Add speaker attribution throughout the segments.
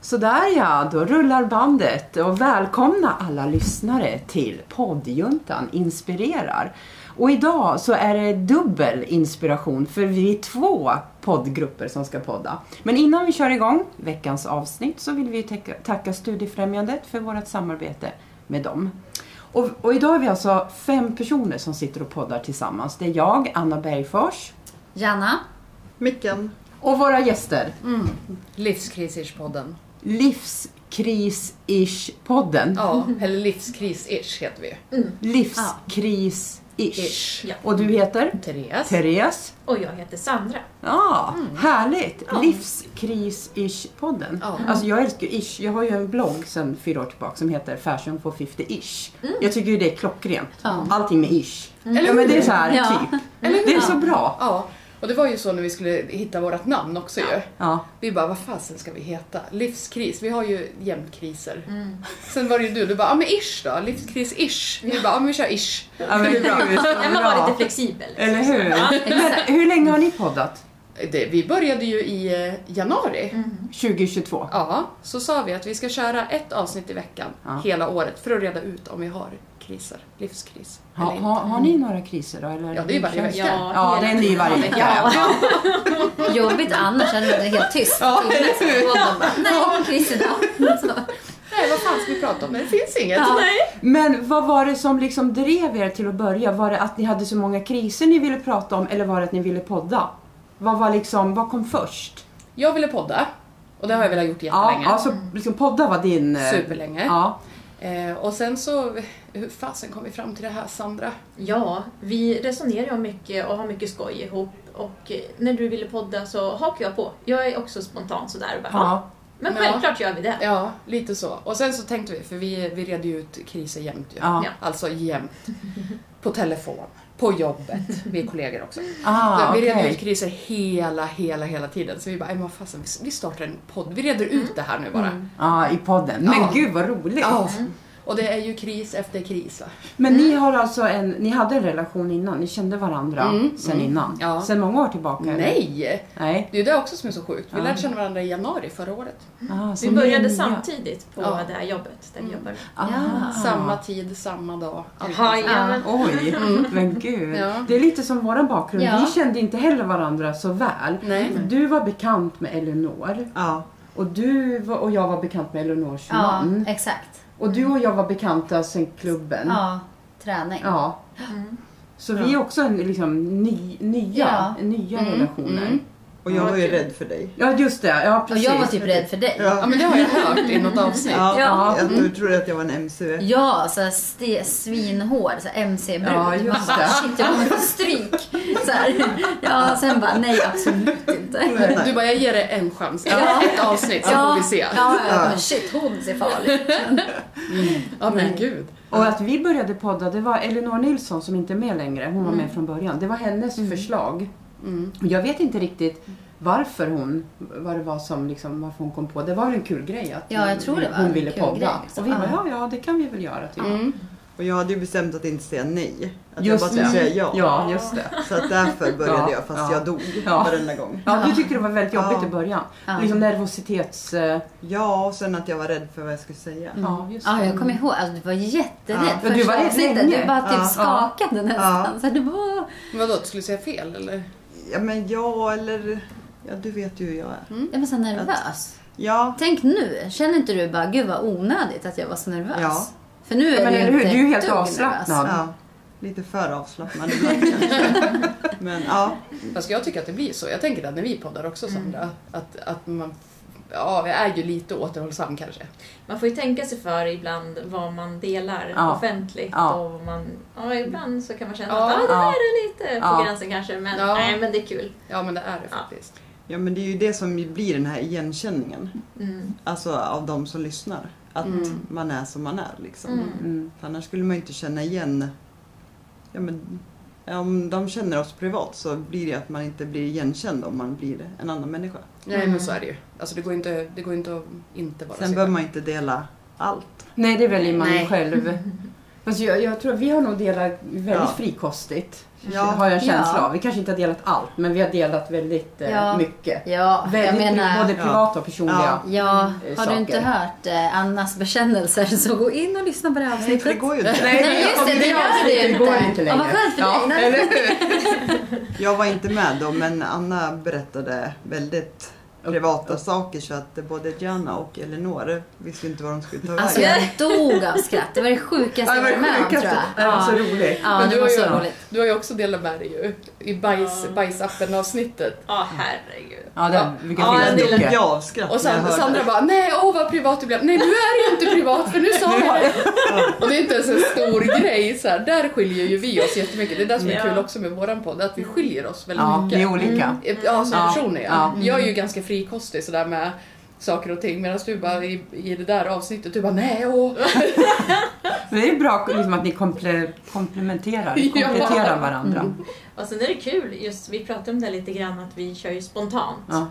Speaker 1: Sådär ja, då rullar bandet och välkomna alla lyssnare till poddjuntan inspirerar. Och idag så är det dubbel inspiration för vi är två poddgrupper som ska podda. Men innan vi kör igång veckans avsnitt så vill vi tacka, tacka Studiefrämjandet för vårt samarbete med dem. Och, och idag är vi alltså fem personer som sitter och poddar tillsammans. Det är jag, Anna Bergfors
Speaker 2: Janna,
Speaker 3: Micken.
Speaker 1: och våra gäster.
Speaker 2: Livskris-ish-podden.
Speaker 1: Livskris-ish-podden.
Speaker 2: Ja, eller Livskris-ish heter vi ju.
Speaker 1: Livskris-ish.
Speaker 4: Ja.
Speaker 1: Och du heter?
Speaker 2: Therese.
Speaker 1: Therese.
Speaker 4: Och jag heter Sandra.
Speaker 1: Ja,
Speaker 2: Mm.
Speaker 1: härligt! Livskris-ish-podden.
Speaker 2: Ja.
Speaker 1: Alltså jag älskar ju ish. Jag har ju en blogg sedan fyra år tillbaka som heter Fashion for 50-ish.
Speaker 2: Mm.
Speaker 1: Jag tycker ju det är klockrent. Allting med ish. Ja, men det är så här,
Speaker 5: Ja.
Speaker 1: typ. Det är så bra.
Speaker 2: Ja, och det var ju så när vi skulle hitta vårt namn också ju.
Speaker 1: Ja.
Speaker 2: Vi bara, vad fasen ska vi heta? Livskris, vi har ju jämnkriser. Sen var det ju du, du bara, ja men ish då, livskris-ish. Vi bara, Mm. ja men vi kör ish.
Speaker 1: Ja, men gud, så
Speaker 4: Jag vill vara lite
Speaker 1: bra.
Speaker 4: flexibel. liksom.
Speaker 1: Eller hur? Men hur länge har ni poddat?
Speaker 2: Det, vi började ju i eh, januari.
Speaker 1: 2022?
Speaker 2: Ja, så sa vi att vi ska köra ett avsnitt i veckan
Speaker 1: Ja.
Speaker 2: hela året för att reda ut om vi har kriser, livskris.
Speaker 1: Ha,
Speaker 2: eller inte.
Speaker 1: ha, har ni några kriser då? Eller?
Speaker 2: Ja, det är ju varje vecka.
Speaker 1: Ja, det är en ny varje vecka. Ja.
Speaker 5: Jobbigt annars hade det varit helt tyst. Typ
Speaker 2: Ja, eller hur?
Speaker 5: Och de bara, Nej, Chris idag. Så,
Speaker 2: Nej, vad fan ska vi prata om? Det finns inget.
Speaker 5: Ja.
Speaker 1: Men vad var det som liksom drev er till att börja? Var det att ni hade så många kriser ni ville prata om eller var det att ni ville podda? Vad, var liksom, vad kom först?
Speaker 2: Jag ville podda och det har jag velat gjort
Speaker 1: Ja,
Speaker 2: jättelänge.
Speaker 1: ja, så liksom podda var din... eh,
Speaker 2: Superlänge.
Speaker 1: Ja.
Speaker 2: Eh, och sen så, hur fasen kom vi fram till det här Sandra?
Speaker 4: Ja, vi resonerar ju om mycket och har mycket skoj ihop. Och eh, när du ville podda så hakade jag på. Jag är också spontan sådär och bara, ja.
Speaker 1: Ja.
Speaker 4: Men
Speaker 2: Ja.
Speaker 4: självklart gör vi det.
Speaker 2: Ja, lite så. Och sen så tänkte vi, för vi, vi redde ju ut kriser jämt ju.
Speaker 1: Ja.
Speaker 4: Ja.
Speaker 2: Alltså jämt. På telefon, på jobbet, vi är kollegor också.
Speaker 1: Ah,
Speaker 2: vi reder
Speaker 1: okej.
Speaker 2: ut kriser hela, hela, hela tiden. Så vi bara, "Aj, men vad fasen, vi- vi startar en podd. Vi reder ut det här nu bara.
Speaker 1: Ja, i podden. Men
Speaker 2: Ja.
Speaker 1: gud vad roligt!
Speaker 2: Ja. Mm. Och det är ju kris efter kris. va?
Speaker 1: Men ni har alltså en, ni hade en relation innan, ni kände varandra
Speaker 2: Mm,
Speaker 1: sen
Speaker 2: mm.
Speaker 1: innan?
Speaker 2: Ja.
Speaker 1: Sen många år tillbaka? eller?
Speaker 2: Nej!
Speaker 1: Nej.
Speaker 2: Det är ju det också som är så sjukt. Vi lärde känna varandra i januari förra året.
Speaker 1: Ah, så
Speaker 4: Vi
Speaker 1: ni är
Speaker 4: började
Speaker 1: nya.
Speaker 4: samtidigt på
Speaker 2: Ja.
Speaker 4: det här jobbet där vi jobbar.
Speaker 1: Ah.
Speaker 5: Ja.
Speaker 2: Samma tid, samma dag. Typ. allt.
Speaker 4: Jaha, ja, men-
Speaker 1: Oj, men gud.
Speaker 2: Ja.
Speaker 1: Det är lite som våran bakgrund.
Speaker 5: Mm. Ja.
Speaker 1: Vi kände inte heller varandra så väl.
Speaker 2: Nej.
Speaker 1: Du var bekant med Eleanor
Speaker 3: Ja.
Speaker 1: och du var, och jag var bekant med Eleanors
Speaker 5: ja,
Speaker 1: man.
Speaker 5: exakt.
Speaker 1: Och du och jag var bekanta sen klubben.
Speaker 5: Ja, träning.
Speaker 1: Mm. Ja. Så vi är också en, liksom, ny, nya,
Speaker 5: Ja.
Speaker 1: nya relationer.
Speaker 2: mm.
Speaker 3: Och jag var ju rädd för dig.
Speaker 1: Ja, just det. Ja,
Speaker 5: Och
Speaker 1: precis.
Speaker 5: jag var typ rädd för dig.
Speaker 2: Ja men det har jag hört i något avsnitt.
Speaker 3: Ja,
Speaker 1: Ja.
Speaker 3: Jag, du trodde att jag var en MC.
Speaker 5: Ja, så här alltså, ste- svinhår, så här mc-brud.
Speaker 1: Ja, just
Speaker 5: Man bara,
Speaker 1: det.
Speaker 5: Shit, jag kommer få stryk. Så här. Ja, sen bara, nej absolut inte.
Speaker 2: Du bara, jag ger dig en chans.
Speaker 5: Ja.
Speaker 2: Ett avsnitt så får vi se.
Speaker 5: Ja, ja, ja. Men shit hon ser farlig ut.
Speaker 2: Ja men gud.
Speaker 1: Och att vi började podda, det var Elinor Nilsson som inte är med längre, hon var
Speaker 5: Mm.
Speaker 1: med från början. Det var hennes förslag.
Speaker 2: Mm.
Speaker 1: Och Jag vet inte riktigt varför hon, vad det var som liksom, varför hon kom på. Det var väl en kul grej att
Speaker 5: Ja, jag tror det var
Speaker 1: hon
Speaker 5: en
Speaker 1: ville
Speaker 5: kul
Speaker 1: podda.
Speaker 5: grej, liksom.
Speaker 1: Och vi bara,
Speaker 5: Ja. Mm.
Speaker 1: ja, ja det kan vi väl göra typ.
Speaker 3: Och jag hade ju bestämt att inte säga nej. Att jag bara skulle säga ja.
Speaker 1: Ja, just det.
Speaker 3: Så att därför började
Speaker 1: Ja,
Speaker 3: jag fast
Speaker 1: ja.
Speaker 3: jag dog
Speaker 1: Ja.
Speaker 3: varenda gång.
Speaker 1: Ja, du tyckte det var väldigt jobbigt
Speaker 3: Ja.
Speaker 1: i början.
Speaker 5: Ja.
Speaker 1: Liksom nervositets... eh,
Speaker 3: Ja, och sen att jag var rädd för vad jag skulle säga.
Speaker 1: Ja, just
Speaker 5: Mm. Ja,
Speaker 1: det.
Speaker 5: jag kommer ihåg. Alltså, du var
Speaker 3: Ja.
Speaker 5: jätterädd
Speaker 1: Ja, du var rädd länge.
Speaker 5: Du bara typ
Speaker 3: Ja.
Speaker 5: skakade nästan. Så här, du bara...
Speaker 2: Men Vadå, du skulle säga fel eller?
Speaker 3: Ja, men ja eller... Ja, du vet ju hur jag är.
Speaker 5: Jag var så nervös.
Speaker 3: Ja,
Speaker 5: Tänk nu, känner inte du bara gud vad onödigt att jag var så nervös?
Speaker 3: Ja.
Speaker 5: För nu
Speaker 1: Ja,
Speaker 5: är
Speaker 1: men
Speaker 5: du
Speaker 1: eller hur?
Speaker 5: inte
Speaker 1: Du är helt
Speaker 5: ett dugg
Speaker 1: avslappnad.
Speaker 5: nervös.
Speaker 3: ja. Lite för avslappnad ibland kanske. Men ja,
Speaker 2: Fast jag tycker att det blir så. Jag tänker att när vi poddar också Sandra, att, att man Ja, vi är ju lite återhållsam kanske.
Speaker 4: Man får ju tänka sig för ibland vad man delar
Speaker 1: Ja.
Speaker 4: offentligt
Speaker 1: Ja.
Speaker 4: och vad man, ja, ibland så kan man känna
Speaker 2: Ja.
Speaker 4: att ah, det
Speaker 1: Ja.
Speaker 4: här är lite på
Speaker 1: Ja.
Speaker 4: gränsen kanske men
Speaker 2: Ja.
Speaker 4: nej men det är kul.
Speaker 2: Ja, men det är det
Speaker 4: Ja.
Speaker 2: faktiskt.
Speaker 3: ja, men det är ju det som blir den här igenkänningen.
Speaker 4: Mm.
Speaker 3: Alltså av de som lyssnar. Att
Speaker 2: Mm.
Speaker 3: man är som man är liksom.
Speaker 4: Mm.
Speaker 1: Mm.
Speaker 3: För Annars skulle man ju inte känna igen... Ja, men, om de känner oss privat så blir det att man inte blir igenkänd om man blir en annan människa.
Speaker 2: Nej, men så är det ju. Alltså, det går inte, det går inte att inte vara
Speaker 3: Sen
Speaker 2: sig
Speaker 3: behöver
Speaker 2: själv.
Speaker 3: man inte dela allt.
Speaker 1: Nej, det väljer man
Speaker 2: Nej.
Speaker 1: själv. Fast jag, jag tror vi har nog delat väldigt
Speaker 3: Ja.
Speaker 1: frikostigt.
Speaker 3: Ja.
Speaker 1: Har jag en känsla
Speaker 5: Ja.
Speaker 1: av. Vi kanske inte har delat allt, men vi har delat väldigt eh,
Speaker 5: Ja.
Speaker 1: mycket.
Speaker 5: Ja, jag
Speaker 1: Väldigt,
Speaker 5: menar...
Speaker 1: Både
Speaker 3: Ja.
Speaker 1: privata och personliga.
Speaker 5: Ja,
Speaker 1: Mm,
Speaker 5: har
Speaker 1: saker.
Speaker 5: du inte hört eh, Annas bekännelser så gå in och lyssna på det här
Speaker 3: Nej, för det
Speaker 5: avsnittet.
Speaker 3: går ju inte.
Speaker 5: Nej, just det, det gör det ju
Speaker 1: avsnittet går
Speaker 5: inte.
Speaker 1: inte
Speaker 5: Ja,
Speaker 1: längre.
Speaker 5: vad skönt för dig. Nej.
Speaker 1: eller hur?
Speaker 3: Jag var inte med då, men Anna berättade väldigt privata saker så att både Gianna och Eleanor visste inte vad de skulle ta
Speaker 5: Alltså
Speaker 3: vägen.
Speaker 5: jag dog av skratt. Det var det sjukaste jag
Speaker 3: Ja, det
Speaker 5: varit
Speaker 3: var det
Speaker 5: med om tror
Speaker 3: sjukaste.
Speaker 5: jag.
Speaker 3: Det var så
Speaker 5: Ja,
Speaker 3: roligt.
Speaker 5: ja
Speaker 2: Men
Speaker 5: det
Speaker 2: du
Speaker 5: var
Speaker 2: har,
Speaker 5: så
Speaker 2: ju,
Speaker 5: roligt.
Speaker 2: du har ju också delat med dig ju, i bajs,
Speaker 4: Ja.
Speaker 2: bajsappen avsnittet.
Speaker 4: Ja, herregud.
Speaker 1: Ja, den, vilken
Speaker 2: Ja,
Speaker 1: fin
Speaker 3: Jag
Speaker 2: den
Speaker 1: stycke.
Speaker 3: delen jag av skratt
Speaker 2: Och
Speaker 3: när jag
Speaker 2: Sandra,
Speaker 3: hörde.
Speaker 2: Sandra bara, nej åh vad privat du blev. Nej nu är det ju inte privat för nu sa jag det. Och det är inte ens en stor grej. Så här, där skiljer ju vi oss jättemycket. Det är det som är
Speaker 4: Ja.
Speaker 2: kul också med våran podd, att vi skiljer oss väldigt
Speaker 1: Ja, vi
Speaker 2: mycket. Mm.
Speaker 1: är olika.
Speaker 2: Ja, som
Speaker 1: Ja,
Speaker 2: person är jag.
Speaker 1: ja.
Speaker 2: Jag är ju ganska frikostig sådär med saker och ting medan du bara i, i det där avsnittet, du bara nej åh.
Speaker 1: Men det är bra liksom, att ni komple komplementerar,
Speaker 2: Ja.
Speaker 1: kompletterar varandra.
Speaker 4: Och sen Alltså, är det kul, just, vi pratade om det lite grann, att vi kör ju spontant.
Speaker 1: Ja,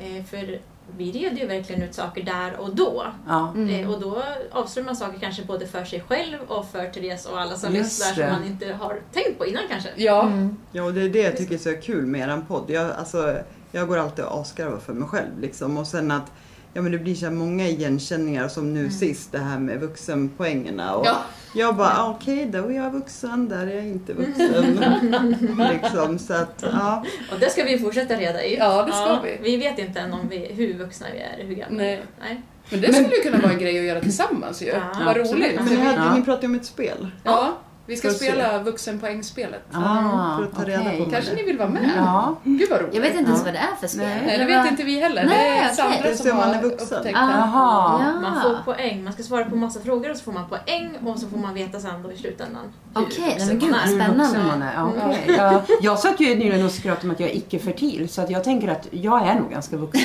Speaker 4: Eh, För vi reder ju verkligen ut saker där och då.
Speaker 1: ja.
Speaker 4: Eh, Och då avslöjar man saker kanske både för sig själv och för Therese och alla som
Speaker 1: Just
Speaker 4: lyssnar
Speaker 1: det.
Speaker 4: som man inte har tänkt på innan kanske.
Speaker 2: Ja,
Speaker 3: Ja, och det är det jag tycker är så kul med eran podd. Jag, alltså, jag går alltid och asgarvar för mig själv liksom. Och sen att ja, men det blir så här många igenkänningar som
Speaker 1: Mm.
Speaker 3: nu sist det här med vuxenpoängerna. Och
Speaker 2: Ja.
Speaker 3: Jag bara, ah, okej, där är jag vuxen, där är jag inte vuxen. liksom, så att, ja.
Speaker 4: Och det ska vi fortsätta reda i.
Speaker 2: Ja, det ska vi.
Speaker 4: Vi vet inte än om vi, hur vuxna vi är, hur gamla vi
Speaker 2: Nej.
Speaker 4: är. Nej.
Speaker 2: men det skulle ju kunna vara en grej att göra tillsammans ju.
Speaker 4: Ja,
Speaker 2: Vad
Speaker 1: absolut.
Speaker 2: roligt.
Speaker 3: Men ni, hade,
Speaker 1: Ja.
Speaker 3: ni pratade ju om ett spel.
Speaker 2: Ja, vi ska
Speaker 3: Får se.
Speaker 2: spela vuxenpoängspelet.
Speaker 1: Ah,
Speaker 3: för att ta reda
Speaker 1: okej.
Speaker 3: på vad
Speaker 2: Kanske ni vill vara med?
Speaker 1: Ja,
Speaker 2: Gud vad roligt.
Speaker 5: Jag vet inte ens
Speaker 1: Ja.
Speaker 5: vad det är för spel.
Speaker 1: Nej.
Speaker 2: Nej, det vet inte vi heller.
Speaker 5: Nej,
Speaker 2: det är
Speaker 5: okej.
Speaker 2: Sandra
Speaker 3: Det är
Speaker 2: som
Speaker 3: så man
Speaker 2: har
Speaker 3: är vuxen.
Speaker 2: upptäckt det.
Speaker 1: Jaha.
Speaker 5: Ja.
Speaker 4: Man får poäng, man ska svara på massa frågor och så får man poäng och så får man veta sen då i slutändan hur
Speaker 5: Okej,
Speaker 4: vuxen
Speaker 5: men gud,
Speaker 4: man är.
Speaker 5: vad
Speaker 1: Hur
Speaker 5: Spännande.
Speaker 1: vuxen man är. Ja, okej. Ja, jag satt ju nyligen och skröt om att jag är icke-fertil, så att jag tänker att jag är nog ganska vuxen.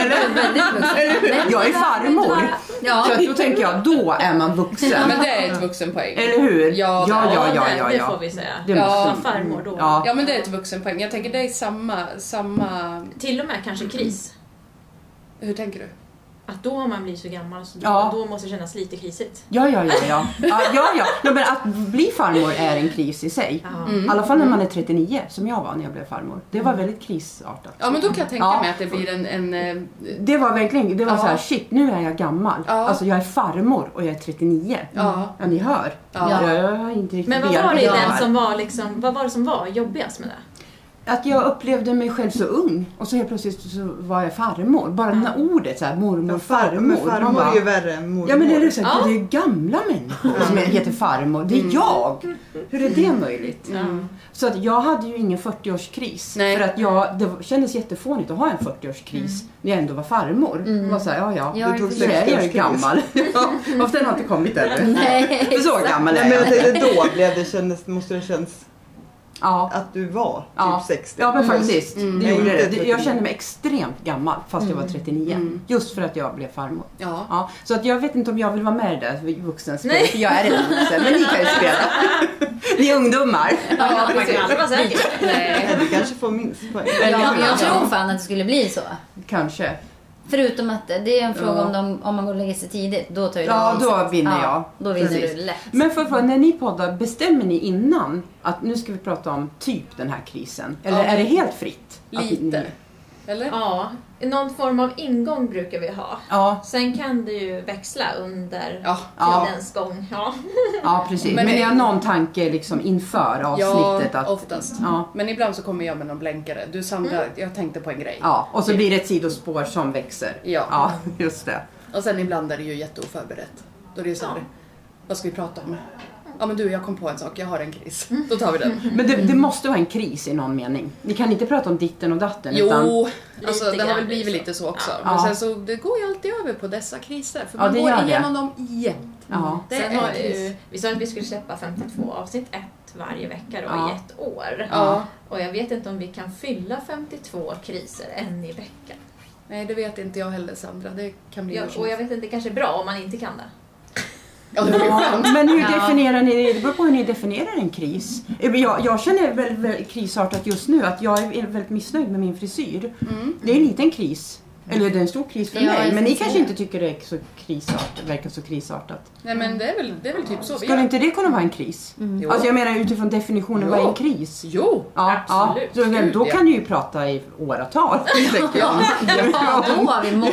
Speaker 1: Eller hur? Jag är farmor.
Speaker 5: Ja.
Speaker 1: Så att då tänker jag, då är man vuxen.
Speaker 2: Men det är ett vuxenpoäng.
Speaker 1: Eller hur?
Speaker 2: Ja, det
Speaker 1: ja,
Speaker 2: är
Speaker 1: ja, ja,
Speaker 4: det-
Speaker 1: ja,
Speaker 4: Det får
Speaker 1: ja.
Speaker 4: vi säga.
Speaker 1: Det
Speaker 2: Ja.
Speaker 1: måste-
Speaker 4: Farmor då.
Speaker 1: Ja.
Speaker 2: Ja men det är ett vuxenpoäng. Jag tänker det är samma, samma...
Speaker 4: Till och med kanske kris.
Speaker 2: Hur tänker du?
Speaker 4: Att då har man blivit så gammal så då,
Speaker 1: Ja.
Speaker 4: då måste det kännas lite krisigt.
Speaker 1: Ja, ja, ja. ja. ja, ja, ja. Nej, men att bli farmor är en kris i sig.
Speaker 4: Ja.
Speaker 1: I alla fall när man är 39, som jag var när jag blev farmor. Det var väldigt krisartat.
Speaker 2: Ja men då kan jag tänka
Speaker 1: Ja.
Speaker 2: mig att det blir en... en eh,
Speaker 1: Det var verkligen, det var
Speaker 2: Ja.
Speaker 1: så här, shit, nu är jag gammal.
Speaker 2: Ja.
Speaker 1: Alltså jag är farmor och jag är 39.
Speaker 5: Mm.
Speaker 2: ja.
Speaker 1: Ja, ni hör.
Speaker 2: Ja.
Speaker 1: Jag, jag har inte riktigt
Speaker 4: Men vad var det i
Speaker 1: bearbetat
Speaker 4: den
Speaker 1: här.
Speaker 4: som var liksom, vad var det som var jobbigast med det?
Speaker 1: Att jag upplevde mig själv så ung och så helt plötsligt så var jag farmor. Bara det här ordet så här, mormor, farmor.
Speaker 3: Men
Speaker 1: Man
Speaker 3: farmor
Speaker 1: bara,
Speaker 3: är ju värre än mormor.
Speaker 1: Ja men är det så här,
Speaker 4: Ja.
Speaker 1: det är ju gamla människor som heter farmor. Det är
Speaker 3: Mm.
Speaker 1: jag! Hur är det möjligt? Så att jag hade ju ingen 40-årskris.
Speaker 2: Nej.
Speaker 1: För att jag, det kändes jättefånigt att ha en 40-årskris när jag ändå var farmor.
Speaker 3: Mm.
Speaker 1: Man var såhär, ja ja,
Speaker 5: Ja,
Speaker 1: du tog
Speaker 5: precis.
Speaker 1: så är jag ju gammal. ja, fast den har inte kommit ännu.
Speaker 5: Nej,
Speaker 1: För så gammal
Speaker 3: Nej,
Speaker 1: är
Speaker 3: men jag
Speaker 1: jag.
Speaker 3: tänkte då blev det kändes, måste det känns
Speaker 1: Ja.
Speaker 3: att du var typ
Speaker 1: Ja.
Speaker 3: 60.
Speaker 1: Ja men faktiskt, det
Speaker 3: Nej,
Speaker 1: gjorde
Speaker 3: inte
Speaker 1: det.
Speaker 3: Mm.
Speaker 1: det. Jag
Speaker 3: 39.
Speaker 1: kände mig extremt gammal fast jag var 39. Just för att jag blev farmor.
Speaker 2: ja.
Speaker 1: Ja, så att jag vet inte om jag vill vara med i det där vuxenspelet, för jag är redan vuxen. Men ni kan ju spela. ni är ungdomar.
Speaker 4: Ja, man kan aldrig vara säker.
Speaker 2: Nej.
Speaker 3: Nej, Eh, du kanske får minst poäng.
Speaker 5: Ja,
Speaker 1: Eller
Speaker 5: men
Speaker 1: hur?
Speaker 5: jag tror fan att det skulle bli så.
Speaker 1: Kanske.
Speaker 5: Förutom att det är en fråga
Speaker 1: Ja.
Speaker 5: om, de, om man går och lägger sig tidigt. Då tar ju
Speaker 1: Ja,
Speaker 5: du
Speaker 1: då
Speaker 5: insats.
Speaker 1: vinner jag.
Speaker 5: Ja, då vinner
Speaker 1: Precis.
Speaker 5: du lätt.
Speaker 1: Men för, för när ni poddar, bestämmer ni innan att nu ska vi prata om typ den här krisen? Eller
Speaker 2: Ja.
Speaker 1: är det helt fritt? Att
Speaker 2: Lite.
Speaker 1: ni-
Speaker 2: Eller?
Speaker 4: Ja, någon form av ingång brukar vi ha.
Speaker 1: Ja,
Speaker 4: Sen kan det ju växla under
Speaker 2: Ja.
Speaker 1: Ja.
Speaker 4: tidens gång. Ja.
Speaker 1: ja, precis. Men,
Speaker 2: Men-
Speaker 1: ni har någon tanke liksom inför
Speaker 2: Ja,
Speaker 1: avsnittet? att,
Speaker 2: oftast.
Speaker 1: ja,
Speaker 2: Men ibland så kommer jag med någon blänkare. Du Sandra,
Speaker 5: Mm.
Speaker 2: jag tänkte på en grej.
Speaker 1: ja, och så blir det ett sidospår som växer.
Speaker 2: Ja.
Speaker 1: ja just det.
Speaker 2: Och sen ibland är det ju jätteoförberett. Då är det ju såhär, vad ska vi prata om? Ja men du, jag kom på en sak. Jag har en kris.
Speaker 5: Mm.
Speaker 2: Då tar vi den.
Speaker 1: Men det, det måste vara en kris i någon mening. Ni kan inte prata om ditten och datten. Utan,
Speaker 2: Jo, alltså,
Speaker 4: Lite
Speaker 2: det har väl
Speaker 4: grann
Speaker 2: blivit
Speaker 4: blir så.
Speaker 2: lite så också.
Speaker 1: Ja.
Speaker 2: Men sen så, det går ju alltid över på dessa kriser. För
Speaker 1: Ja,
Speaker 2: man
Speaker 1: det gör
Speaker 2: går
Speaker 1: det.
Speaker 2: igenom dem jämt.
Speaker 1: ja.
Speaker 2: Det
Speaker 4: Sen
Speaker 2: är
Speaker 4: har
Speaker 2: en
Speaker 4: vi
Speaker 2: kris.
Speaker 4: ju, vi sa att vi skulle släppa 52 avsnitt, ett varje vecka då,
Speaker 1: Ja.
Speaker 4: i ett år.
Speaker 2: Ja.
Speaker 4: Och jag vet inte om vi kan fylla 52 kriser en i veckan.
Speaker 2: Nej, det vet inte jag heller Sandra. Det kan bli
Speaker 4: Jag, och jag vet inte, det kanske är bra om man inte kan det.
Speaker 2: Ja, det var ju
Speaker 1: Ja,
Speaker 2: skönt.
Speaker 1: men hur
Speaker 5: Ja.
Speaker 1: definierar ni, det beror på hur ni definierar en kris. Jag, jag känner väl, väl krisartat just nu att jag är väldigt missnöjd med min frisyr. Det är en liten kris. Eller det är en stor kris för
Speaker 5: Ja,
Speaker 1: mig.
Speaker 5: jag
Speaker 1: Men ni
Speaker 5: tänkte
Speaker 1: kanske
Speaker 5: säga.
Speaker 1: inte tycker det är så krisart, verkar så krisartat.
Speaker 2: Nej men det är väl, det är väl typ så vi
Speaker 1: Skulle
Speaker 2: gör.
Speaker 1: inte det kunna vara en kris?
Speaker 2: Jo.
Speaker 1: Alltså jag menar utifrån definitionen, vad är en
Speaker 2: Jo.
Speaker 1: kris?
Speaker 2: Jo!
Speaker 1: Ja,
Speaker 2: Absolut.
Speaker 1: Ja, så, men då
Speaker 2: Gud, ja.
Speaker 1: kan ni ju prata i åratal, tänker jag.
Speaker 5: Ja, då har vi många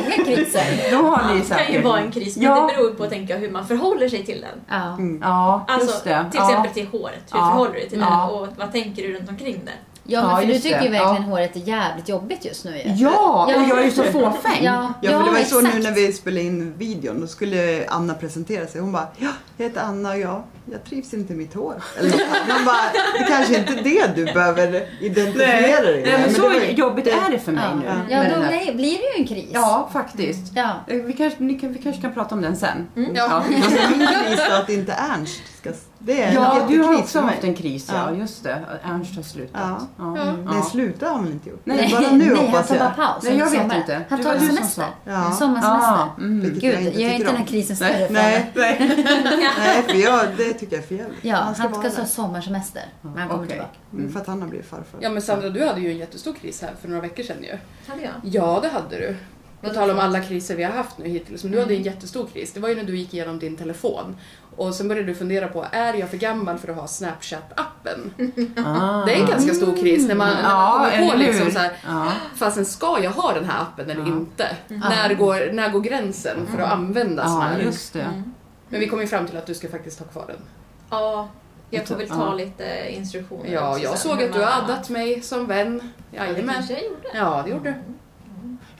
Speaker 5: kriser.
Speaker 1: Då har ni
Speaker 4: Det kan ju
Speaker 1: säkert...
Speaker 4: vara en kris, men
Speaker 1: Ja.
Speaker 4: det beror på tänker jag, hur man förhåller sig till den.
Speaker 5: Ja.
Speaker 1: Mm. Ja,
Speaker 4: Alltså,
Speaker 1: just det.
Speaker 4: till
Speaker 1: ja.
Speaker 4: exempel till håret. Hur
Speaker 1: Ja.
Speaker 4: förhåller du dig till
Speaker 1: Ja.
Speaker 4: det? Och vad tänker du runt omkring det?
Speaker 5: Ja, men
Speaker 1: Ja,
Speaker 5: för du
Speaker 1: just
Speaker 5: tycker ju
Speaker 1: det.
Speaker 5: verkligen
Speaker 1: Ja.
Speaker 5: håret är jävligt jobbigt just nu ju.
Speaker 1: Ja, och
Speaker 5: Ja.
Speaker 1: jag är ju så fåfäng.
Speaker 5: Ja,
Speaker 3: Ja, för det var ju så
Speaker 5: exakt.
Speaker 3: nu när vi spelade in videon. Då skulle Anna presentera sig. Hon bara, ja, jag heter Anna och jag, jag trivs inte i mitt hår. Eller något sånt. Man bara, det kanske inte är det du behöver identifiera dig
Speaker 1: Nej, men
Speaker 3: Men
Speaker 1: så
Speaker 3: det var ju-
Speaker 1: jobbigt är det för mig
Speaker 5: Ja,
Speaker 1: nu.
Speaker 5: ja.
Speaker 1: med
Speaker 5: då
Speaker 1: den här-
Speaker 5: blir- blir det ju en kris.
Speaker 1: ja faktiskt.
Speaker 5: Ja.
Speaker 1: Eh, Vi kanske, ni kan, vi kanske kan prata om den sen.
Speaker 2: Ja.
Speaker 3: Alltså, min kris är att inte Ernst ska... Det är en
Speaker 1: Ja, du har
Speaker 3: jättekris
Speaker 1: också
Speaker 3: för mig.
Speaker 1: haft en kris, ja.
Speaker 3: Ja.
Speaker 1: Just det. Ernst har slutat.
Speaker 3: Ja. Mm.
Speaker 1: Ja.
Speaker 2: Ja.
Speaker 3: Nej, sluta har hon inte gjort.
Speaker 1: Nej,
Speaker 3: bara nu
Speaker 5: nej,
Speaker 3: hoppas
Speaker 5: han tar
Speaker 3: jag.
Speaker 5: bara paus
Speaker 1: Nej, jag
Speaker 5: under
Speaker 1: vet
Speaker 5: sommaren.
Speaker 1: inte.
Speaker 5: Han
Speaker 1: Det
Speaker 5: tar
Speaker 1: var
Speaker 5: en
Speaker 1: du som
Speaker 5: semester.
Speaker 3: sa. Ja.
Speaker 5: En sommarsemester.
Speaker 1: Ah, mm.
Speaker 3: Vilket jag
Speaker 5: Gud,
Speaker 3: inte
Speaker 5: gör
Speaker 3: tycker
Speaker 5: inte den här
Speaker 3: om.
Speaker 5: krisen större för
Speaker 3: Nej,
Speaker 5: mig.
Speaker 3: nej. nej för jag, det tycker jag är fel.
Speaker 5: Ja, han ska,
Speaker 3: vara
Speaker 5: ha
Speaker 3: där.
Speaker 5: sommarsemester när han kommer
Speaker 1: Okej.
Speaker 5: tillbaka.
Speaker 3: Mm, För att han har blivit farfar.
Speaker 2: Ja men Sandra, du hade ju en jättestor kris här för några veckor sedan ju.
Speaker 4: Hade jag?
Speaker 2: Ja, det hade du. På tal om alla kriser vi har haft nu hittills, men du hade en jättestor kris. Det var ju när du gick igenom din telefon och sen började du fundera på, är jag för gammal för att ha Snapchat-appen?
Speaker 1: Ah. Mm.
Speaker 2: Det är en ganska stor kris när man, när man
Speaker 1: Ja,
Speaker 2: kommer på
Speaker 1: eller hur?
Speaker 2: liksom så här,
Speaker 1: Ja.
Speaker 2: fasen ska jag ha den här appen eller
Speaker 1: Ja. Mm.
Speaker 2: inte? När, går, när går gränsen för att använda sån
Speaker 1: Ja,
Speaker 2: här?
Speaker 1: just det.
Speaker 4: Mm.
Speaker 2: Men vi kom ju fram till att du ska faktiskt ha kvar den.
Speaker 4: Ja, jag får väl ta
Speaker 1: Ja.
Speaker 4: lite instruktioner
Speaker 2: Ja,
Speaker 4: också
Speaker 2: jag
Speaker 4: sen,
Speaker 2: såg
Speaker 4: hur
Speaker 2: att du
Speaker 4: man-
Speaker 2: har addat mig som vän.
Speaker 4: Ja, det
Speaker 2: Jajamän.
Speaker 4: kanske jag gjorde.
Speaker 2: Ja, det gjorde du.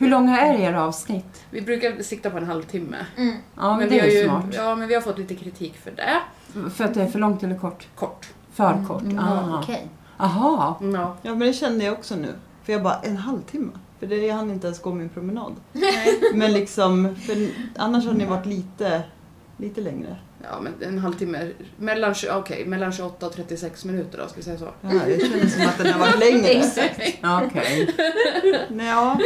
Speaker 1: Hur långa är era avsnitt?
Speaker 2: Vi brukar sikta på en halvtimme.
Speaker 4: Mm,
Speaker 1: Ja, men,
Speaker 2: vi
Speaker 1: det
Speaker 2: har
Speaker 1: är ju
Speaker 2: ju,
Speaker 1: smart.
Speaker 2: ja, men vi har fått lite kritik för det.
Speaker 1: För att det är för långt eller kort?
Speaker 2: Kort.
Speaker 1: För kort. Ah.
Speaker 5: Mm, Okej.
Speaker 1: Aha.
Speaker 2: Mm, Ja.
Speaker 3: Ja, men det kände jag också nu. För jag bara, en halvtimme? För det jag hann inte ens gå min promenad. men liksom, för annars har ni varit lite, lite längre.
Speaker 2: ja, men en halvtimme. Mellan, tju- okej, mellan 28 och 36 minuter då, ska vi säga så.
Speaker 3: Ja, jag känner som att den har varit längre.
Speaker 1: Okej.
Speaker 3: Nej, ja.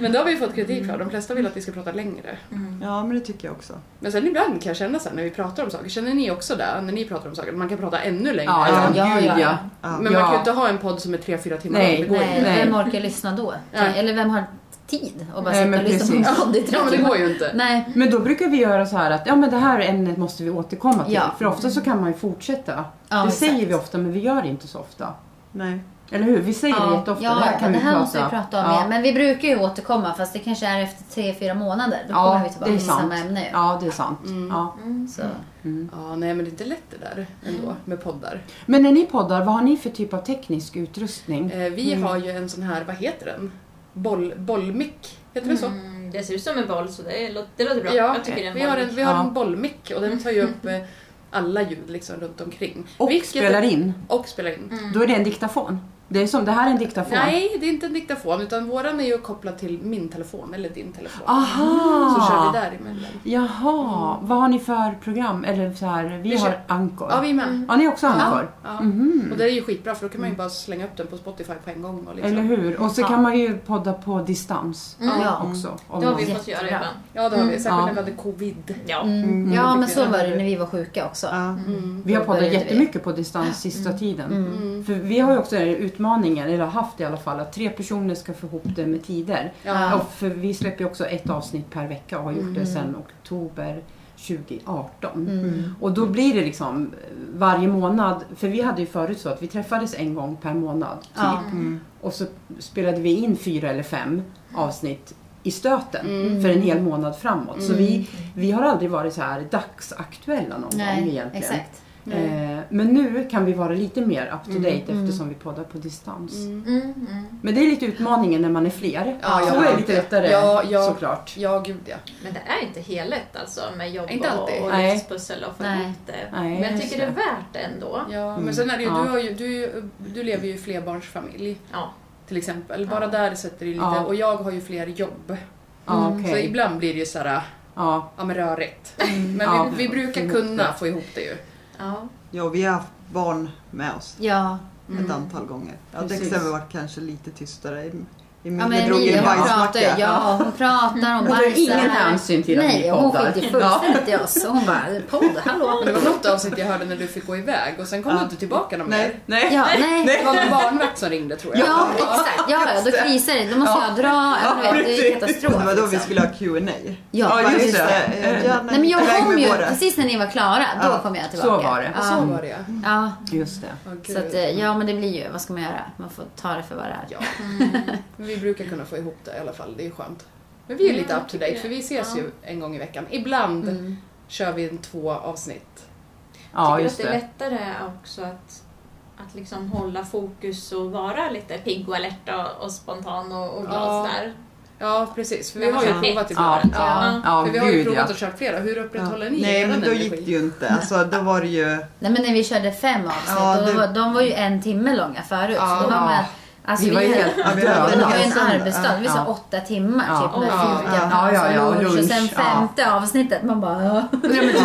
Speaker 2: Men det har vi fått kritik för. De flesta vill att vi ska prata längre.
Speaker 3: ja, men det tycker jag också.
Speaker 2: Men sen ibland kan jag känna så här när vi pratar om saker, känner ni också det? När ni pratar om saker, man kan prata ännu längre.
Speaker 1: Ja, ja,
Speaker 5: Ja,
Speaker 1: gud
Speaker 5: ja,
Speaker 1: ja.
Speaker 5: ja.
Speaker 3: Ja.
Speaker 2: Men man kan ju
Speaker 1: Ja.
Speaker 2: inte ha en podd som är 3-4 timmar
Speaker 1: Nej,
Speaker 2: lång, det går ju
Speaker 5: Nej,
Speaker 2: inte.
Speaker 1: Nej.
Speaker 5: vem orkar lyssna då?
Speaker 2: Nej.
Speaker 5: Eller vem har tid att bara
Speaker 1: Nej,
Speaker 5: sitta
Speaker 1: men
Speaker 5: och lyssna på
Speaker 1: precis.
Speaker 5: en podd i tre
Speaker 2: Ja, men det
Speaker 5: timmar?
Speaker 2: går ju inte.
Speaker 5: Nej,
Speaker 1: Men då brukar vi göra så här att ja, men det här ämnet måste vi återkomma till.
Speaker 5: Ja.
Speaker 1: För ofta så kan man ju fortsätta.
Speaker 5: Ja,
Speaker 1: det
Speaker 5: exakt.
Speaker 1: säger vi ofta men vi gör det inte så ofta.
Speaker 3: Nej.
Speaker 1: Eller hur? Vi säger det jätteofta.
Speaker 5: ja,
Speaker 1: det här kan
Speaker 5: det
Speaker 1: vi
Speaker 5: här
Speaker 1: prata.
Speaker 5: måste vi prata om
Speaker 1: ja.
Speaker 5: igen. Men vi brukar ju återkomma fast det kanske är efter tre, fyra månader. Då kommer
Speaker 1: Ja,
Speaker 5: vi tillbaka
Speaker 1: det är
Speaker 5: till
Speaker 1: sant.
Speaker 5: samma ämne ju.
Speaker 1: Ja, det är sant. Ja.
Speaker 4: mm.
Speaker 5: Så.
Speaker 2: Mm. Ja, nej men det är inte lätt det där ändå med poddar.
Speaker 1: Men när ni poddar, vad har ni för typ av teknisk utrustning?
Speaker 2: Eh, vi har ju en sån här, vad heter den? Boll, bollmick, heter det så?
Speaker 4: Mm, det ser ut som en boll så det låter, det låter bra. jag tycker det är Mm.
Speaker 2: vi har en,
Speaker 4: boll.
Speaker 2: vi har
Speaker 1: Ja.
Speaker 2: en bollmick och den tar ju upp eh, alla ljud liksom runt omkring.
Speaker 1: Och
Speaker 2: Vilket- Mm.
Speaker 1: spelar in.
Speaker 2: Och spelar in.
Speaker 4: Mm.
Speaker 1: Då är det en diktafon. Det är som, det här är en diktafon.
Speaker 2: Nej, det är inte en diktafon utan våran är ju kopplad till min telefon eller din telefon.
Speaker 1: Aha!
Speaker 2: Mm, Så kör vi däremellan.
Speaker 1: Jaha, vad har ni för program? Eller så här, vi,
Speaker 2: Vi
Speaker 1: har
Speaker 2: kör-
Speaker 1: Anchor.
Speaker 2: Ja, vi är med.
Speaker 1: Har ni också Anchor?
Speaker 2: Ja.
Speaker 1: Mm.
Speaker 2: Och det är ju skitbra för då kan man ju bara slänga upp den på Spotify på en gång. Och liksom.
Speaker 1: Eller hur? Och så
Speaker 5: Ja.
Speaker 1: kan man ju podda på distans
Speaker 5: Ja.
Speaker 1: också. om
Speaker 4: Det har
Speaker 1: man-
Speaker 4: vi fått göra
Speaker 5: Jättebra.
Speaker 4: ibland.
Speaker 2: Ja, det har vi. Särskilt
Speaker 1: Mm. Ja.
Speaker 2: när vi hade covid.
Speaker 4: Ja.
Speaker 5: Mm. Ja, men så
Speaker 2: Mm.
Speaker 5: var det när vi var sjuka också.
Speaker 3: Ja.
Speaker 1: Vi har
Speaker 5: Då
Speaker 1: poddat
Speaker 5: började vi.
Speaker 1: jättemycket på distans sista tiden.
Speaker 2: Mm.
Speaker 5: Mm.
Speaker 1: För vi har ju också den här utmaningen, eller har haft i alla fall, att tre personer ska få ihop det med tider.
Speaker 2: Ja.
Speaker 1: Och för vi släpper ju också ett avsnitt per vecka och har gjort
Speaker 5: Mm.
Speaker 1: det sedan oktober 2018. Och då blir det liksom eh, varje månad, för vi hade ju förut så att vi träffades en gång per månad typ.
Speaker 5: Ja.
Speaker 4: Mm.
Speaker 1: Och så spelade vi in fyra eller fem avsnitt i stöten
Speaker 5: Mm.
Speaker 1: för en hel månad framåt. Så vi, vi har aldrig varit så här dagsaktuella någon gång
Speaker 5: Nej,
Speaker 1: egentligen.
Speaker 5: exakt.
Speaker 1: Eh, men nu kan vi vara lite mer up to date eftersom vi poddar på distans.
Speaker 4: Mm, mm.
Speaker 1: Men det är lite utmaningen när man är fler.
Speaker 2: Ja,
Speaker 1: så
Speaker 2: ja.
Speaker 1: är det lite lättare
Speaker 2: Ja, ja.
Speaker 1: såklart.
Speaker 2: Ja, gud ja.
Speaker 4: Men det är inte helrätt alltså med jobb
Speaker 2: Inte alltid.
Speaker 4: och, och
Speaker 1: Nej.
Speaker 4: livspussel och få
Speaker 5: Nej.
Speaker 4: ihop det.
Speaker 1: Nej,
Speaker 4: Men jag
Speaker 1: just
Speaker 4: tycker det är
Speaker 1: det.
Speaker 4: värt det ändå.
Speaker 2: ja. Men sen är det ju,
Speaker 1: Mm. Ja.
Speaker 2: du, har ju, du, är ju- du lever ju i flerbarnsfamilj
Speaker 4: Ja.
Speaker 2: till exempel. Bara där sätter det lite.
Speaker 1: Ja.
Speaker 2: Och jag har ju fler jobb.
Speaker 1: Ja,
Speaker 2: Mm, Så
Speaker 1: okej.
Speaker 2: ibland blir det ju såhär,
Speaker 1: Ja,
Speaker 2: ja men rörigt. Men
Speaker 1: Ja.
Speaker 2: vi, vi brukar kunna få ihop det ju.
Speaker 4: ja.
Speaker 3: ja, vi har haft barn med oss
Speaker 5: Ja, Mm.
Speaker 3: ett antal gånger. Ja,
Speaker 1: Precis.
Speaker 3: Dexter har varit kanske lite tystare i-
Speaker 5: Ja,
Speaker 3: Emilia
Speaker 5: men
Speaker 3: drog ju
Speaker 5: Emilia
Speaker 3: en
Speaker 5: hon pratar, ju-
Speaker 3: bajsmacka.
Speaker 5: ja, hon pratar om
Speaker 1: Hon tar ingen hänsyn till att vi
Speaker 5: Nej, hon
Speaker 1: poddar.
Speaker 5: skiter fullständigt i oss. Och Hon bara, podd, hallå?
Speaker 2: Men det var något avsnitt jag hörde när du fick gå iväg och sen kom du inte tillbaka någon
Speaker 3: Nej.
Speaker 2: mer.
Speaker 1: Nej.
Speaker 5: Ja, nej.
Speaker 2: Det var väl barnvakt som ringde tror jag.
Speaker 5: Ja, exakt. Ja, ja, då krisar det. Då måste jag dra. Ja, du vet, det är katastrof.
Speaker 3: Det var då vi
Speaker 5: liksom.
Speaker 3: skulle ha Q&A
Speaker 5: Ja.
Speaker 1: Ja, just
Speaker 3: Just
Speaker 1: det.
Speaker 3: det. Eh, Gärna
Speaker 5: Nej, men jag
Speaker 3: iväg
Speaker 5: kom
Speaker 3: med
Speaker 5: ju,
Speaker 3: våra.
Speaker 5: precis när ni var klara, då
Speaker 3: Ja,
Speaker 5: kom jag tillbaka.
Speaker 1: så var det.
Speaker 2: Och så var det ja.
Speaker 1: Mm.
Speaker 5: Ja,
Speaker 1: Just det.
Speaker 2: Åh, gud.
Speaker 5: så att, eh, ja men det blir ju, vad ska man göra? Man får ta det för vad det är.
Speaker 2: Ja.
Speaker 4: Mm.
Speaker 2: Men vi brukar kunna få ihop det i alla fall, det är skönt. Men vi är lite up to date för vi ses ju en gång i veckan. Ibland
Speaker 4: Mm.
Speaker 2: kör vi en två avsnitt.
Speaker 1: Ja,
Speaker 4: tycker
Speaker 1: just
Speaker 4: att det är
Speaker 1: det.
Speaker 4: lättare också att, att liksom hålla fokus och vara lite pigg och alert och, och spontan och, och glad
Speaker 2: Ja.
Speaker 4: sådär.
Speaker 2: Ja, precis. För vi
Speaker 4: Ja,
Speaker 2: har ju
Speaker 4: ja.
Speaker 2: provat
Speaker 1: Ja,
Speaker 2: ibland.
Speaker 1: ja, ja,
Speaker 2: För vi har ju
Speaker 1: gud
Speaker 2: provat
Speaker 1: ja.
Speaker 2: och kört flera. Hur upprätthåller ni
Speaker 3: Nej,
Speaker 2: er
Speaker 3: men då
Speaker 2: energi?
Speaker 3: gick det ju inte. Alltså, då var det ju...
Speaker 5: Nej men när vi körde fem avsnitt,
Speaker 3: Ja,
Speaker 5: då
Speaker 3: det-
Speaker 5: var, de var ju en timme långa förut.
Speaker 2: Ja.
Speaker 5: så då var man,
Speaker 1: Ja.
Speaker 5: alltså,
Speaker 1: Vi var ju helt
Speaker 3: vi hade
Speaker 5: Det var ju
Speaker 1: döda.
Speaker 5: en
Speaker 3: Ja.
Speaker 5: arbetsdag, det var
Speaker 1: Ja.
Speaker 5: så åtta timmar
Speaker 1: Ja.
Speaker 5: typ med
Speaker 2: Ja.
Speaker 5: fika.
Speaker 1: Ja, ja, ja,
Speaker 5: lunch. Och
Speaker 1: lunch,
Speaker 5: sen
Speaker 1: ja.
Speaker 5: femte avsnittet, man bara... "Ja."
Speaker 1: Nej, men du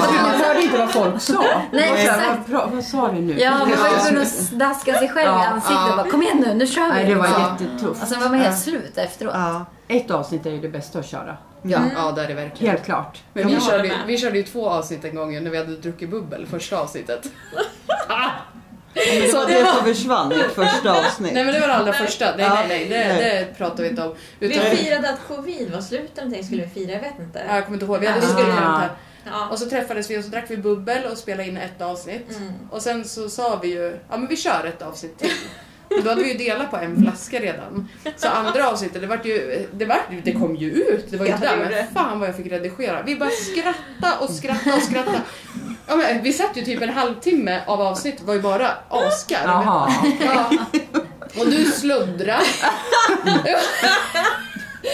Speaker 1: hörde inte vad folk sa.
Speaker 5: Nej,
Speaker 1: Vad-
Speaker 5: exakt.
Speaker 1: Vad, vad sa du nu?
Speaker 5: Ja, man var ju
Speaker 1: Ja.
Speaker 5: tvungen att daska sig själv i
Speaker 1: Ja,
Speaker 5: ansiktet och bara kom igen nu, nu kör vi.
Speaker 1: Nej, det var
Speaker 5: liksom.
Speaker 1: jättetufft.
Speaker 5: Och sen var man helt slut efteråt.
Speaker 3: Ja.
Speaker 1: Ett avsnitt är ju det bästa att köra.
Speaker 2: Ja, ja det är det verkligen.
Speaker 1: Helt klart.
Speaker 2: Men vi
Speaker 4: Mm. Jag håller
Speaker 2: körde, ju,
Speaker 4: med.
Speaker 2: vi körde ju två avsnitt en gång ju när vi hade druckit bubbel, första avsnittet.
Speaker 3: Det var det som försvann i första avsnitt.
Speaker 2: Nej men det var det allra första. Nej,
Speaker 3: Ja.
Speaker 2: nej, nej, det,
Speaker 3: Nej.
Speaker 2: det pratar vi inte om.
Speaker 4: Vi
Speaker 2: Utan,
Speaker 4: firade att covid var slut eller någonting skulle vi fira, jag vet inte.
Speaker 2: Ja, jag kommer inte ihåg, vi hade
Speaker 4: Ah.
Speaker 2: skrivit här.
Speaker 4: Ja.
Speaker 2: Och så träffades vi och så drack vi bubbel och spelade in ett avsnitt.
Speaker 4: Mm.
Speaker 2: Och sen så sa vi ju, ja men vi kör ett avsnitt till. Och då hade vi ju delat på en flaska redan. Så andra avsnittet, det, vart ju, det, vart, ju- det kom ju ut. Det var ju
Speaker 4: Ja,
Speaker 2: inte där,
Speaker 4: det gjorde
Speaker 2: men fan vad jag fick redigera. Vi bara skratta och skratta och skratta. Ja, men vi satt ju typ en halvtimme av avsnitt var ju bara asgarv.
Speaker 1: Jaha.
Speaker 2: Ja. Och du sluddrar.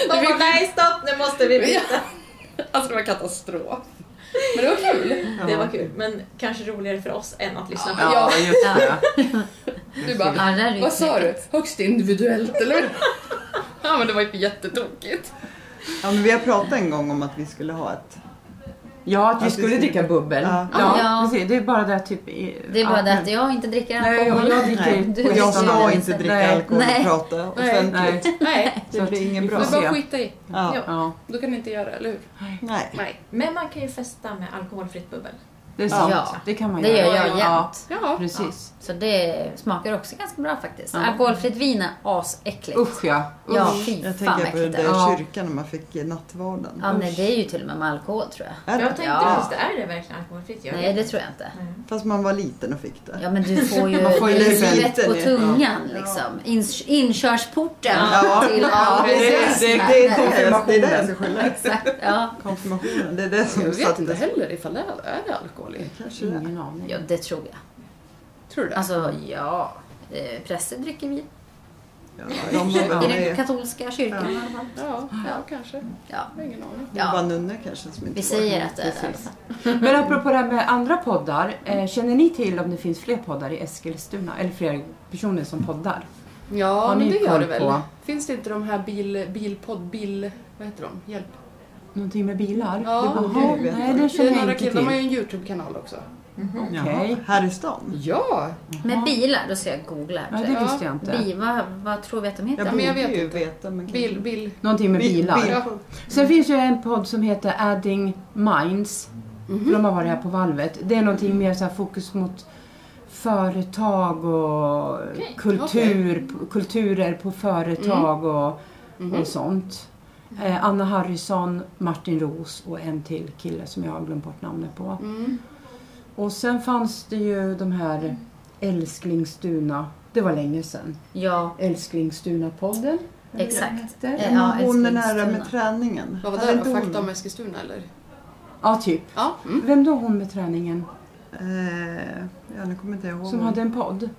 Speaker 4: De bara, nej stopp, nu måste vi
Speaker 2: Ja.
Speaker 4: byta.
Speaker 2: Alltså det var katastrof. Men det var kul.
Speaker 4: Det var kul, men kanske roligare för oss än att lyssna på.
Speaker 1: Ja, just det.
Speaker 2: Du
Speaker 5: Ja,
Speaker 2: bara,
Speaker 5: det där är ju
Speaker 2: vad sa du?
Speaker 5: knepigt.
Speaker 2: Högst individuellt eller? Ja men det var ju jättetokigt.
Speaker 3: Ja, men vi har pratat en gång om att vi skulle ha ett...
Speaker 1: Ja, att vi
Speaker 3: Att vi
Speaker 1: skulle
Speaker 3: skulle-
Speaker 1: dricka bubbel.
Speaker 3: Ja.
Speaker 5: Ja.
Speaker 1: precis. Det är bara det typ... i-
Speaker 5: Det är bara
Speaker 1: ja,
Speaker 5: det att
Speaker 1: men-
Speaker 5: jag inte dricker
Speaker 1: Nej, och
Speaker 5: alkohol.
Speaker 1: jag dricker
Speaker 5: Du-
Speaker 1: på
Speaker 3: Och jag
Speaker 1: listan.
Speaker 3: ska inte dricka
Speaker 1: Nej.
Speaker 3: alkohol
Speaker 5: Nej.
Speaker 3: och prata
Speaker 2: Nej.
Speaker 3: offentligt.
Speaker 1: Nej.
Speaker 2: Nej,
Speaker 1: Så
Speaker 3: Det blir
Speaker 1: att
Speaker 3: ingen
Speaker 1: vi
Speaker 3: bra.
Speaker 2: det
Speaker 1: får
Speaker 2: är bara
Speaker 1: se.
Speaker 2: att skita i.
Speaker 3: Ja.
Speaker 4: Ja.
Speaker 1: Ja,
Speaker 2: Då kan ni inte göra, eller hur?
Speaker 3: Nej.
Speaker 2: Nej.
Speaker 4: Men man kan ju festa med alkoholfritt bubbel.
Speaker 1: det är sant.
Speaker 5: Ja.
Speaker 1: Det kan man
Speaker 5: Det gör jag
Speaker 1: Ja,
Speaker 5: jämt.
Speaker 2: Ja.
Speaker 1: precis.
Speaker 5: Så det smakar också ganska bra faktiskt.
Speaker 1: Ja.
Speaker 5: Alkoholfritt vin är asäckligt.
Speaker 1: Usch ja. Usch.
Speaker 5: Ja, fy
Speaker 3: Jag
Speaker 5: fan vad
Speaker 3: tänker på den
Speaker 5: äckligt
Speaker 3: där
Speaker 5: det är.
Speaker 1: Ja.
Speaker 3: kyrkan när man fick eh, nattvarden.
Speaker 5: Ja, nej, det är ju till och med med alkohol tror jag.
Speaker 3: Är
Speaker 4: Jag
Speaker 3: det?
Speaker 4: tänkte
Speaker 5: Ja.
Speaker 4: just, är det verkligen alkoholfritt? Jag
Speaker 5: Nej,
Speaker 4: vet
Speaker 5: det
Speaker 4: inte.
Speaker 5: tror jag inte.
Speaker 3: Fast man var liten och fick det.
Speaker 5: Ja, men du får ju
Speaker 1: Man får ju
Speaker 5: det är
Speaker 1: lite
Speaker 5: svett på
Speaker 3: lite,
Speaker 5: tungan liksom. Ins- inkörsporten
Speaker 3: Ja.
Speaker 5: till
Speaker 3: Ja, det, är- det, är- det är
Speaker 1: Konfirmationen.
Speaker 3: det är det jag ska skylla.
Speaker 5: Exakt, ja.
Speaker 3: Konfirmationen, det är det som
Speaker 2: Jag vet inte
Speaker 3: satte...
Speaker 2: heller ifall det är, är det alkohol i.
Speaker 3: Kanske det.
Speaker 1: Ingen aning.
Speaker 5: ja, det tror jag.
Speaker 2: Tror du det?
Speaker 5: Alltså, ja. Eh, Präster dricker vin.
Speaker 3: Ja, de var
Speaker 5: I
Speaker 3: väl
Speaker 5: den
Speaker 3: med.
Speaker 5: katolska kyrkan i alla fall.
Speaker 2: ja, ja, kanske.
Speaker 5: Ja.
Speaker 2: Jag har ingen aning.
Speaker 3: Det var
Speaker 5: ja.
Speaker 3: nunnor kanske som
Speaker 5: Vi
Speaker 3: inte var.
Speaker 5: säger att det är det i alla
Speaker 3: Precis.
Speaker 5: fall.
Speaker 1: Men apropå det här med andra poddar. Eh, känner ni till om det finns fler poddar i Eskilstuna? Eller fler personer som poddar?
Speaker 2: Ja,
Speaker 1: Har
Speaker 2: men
Speaker 1: ni
Speaker 2: det gör
Speaker 1: koll
Speaker 2: det väl.
Speaker 1: på-
Speaker 2: Finns det inte de här bil, bilpodd, bil... Vad heter de? Hjälp.
Speaker 1: Någonting med bilar?
Speaker 2: Ja,
Speaker 1: det
Speaker 2: det
Speaker 1: bara,
Speaker 3: vet
Speaker 1: nej,
Speaker 3: jag.
Speaker 1: det
Speaker 2: Det är
Speaker 1: känner jag
Speaker 2: några
Speaker 1: inte
Speaker 2: killar, de har ju
Speaker 1: till.
Speaker 2: en YouTube-kanal också.
Speaker 1: Okej.
Speaker 3: Jaha, Här i stan?
Speaker 2: Ja!
Speaker 5: Med bilar, då ska jag googla
Speaker 1: Ja,
Speaker 5: här.
Speaker 1: det
Speaker 5: tror jag.
Speaker 1: visste jag inte.
Speaker 5: Bi, vad, vad tror vi att de heter?
Speaker 3: Jag
Speaker 2: men
Speaker 3: borde
Speaker 2: jag vet
Speaker 3: ju
Speaker 2: inte.
Speaker 3: veta men kanske-
Speaker 2: Bil, bil...
Speaker 1: Någonting med
Speaker 3: Bil-
Speaker 1: bilar.
Speaker 3: bil-
Speaker 2: Ja.
Speaker 1: Sen finns ju en podd som heter Adding Minds.
Speaker 2: Mhm.
Speaker 1: De har varit här på valvet. Det är någonting mer så här fokus mot företag och kultur, kulturer på företag och, och sånt. Eh, Anna Harrison, Martin Ros och en till kille som jag har glömt bort namnet på.
Speaker 2: Mm.
Speaker 1: Och sen fanns det ju de här Älsklingstuna. Det var länge sedan.
Speaker 5: Ja,
Speaker 1: Älsklingstuna-podden. eller vad
Speaker 5: Exakt.
Speaker 1: den heter.
Speaker 5: Eh,
Speaker 3: Ja,
Speaker 5: Ja,
Speaker 3: hon den här
Speaker 5: Älsklingstuna.
Speaker 3: med träningen.
Speaker 2: Vad var
Speaker 3: Hade
Speaker 2: det
Speaker 3: inte
Speaker 2: då?
Speaker 3: hon-
Speaker 2: Fakta om Eskilstuna eller?
Speaker 1: Ja, typ.
Speaker 2: Ja. Mm.
Speaker 1: Vem då hon med träningen?
Speaker 3: Eh, ja, nu kommer inte jag ihåg.
Speaker 1: Som hade Mm. en podd?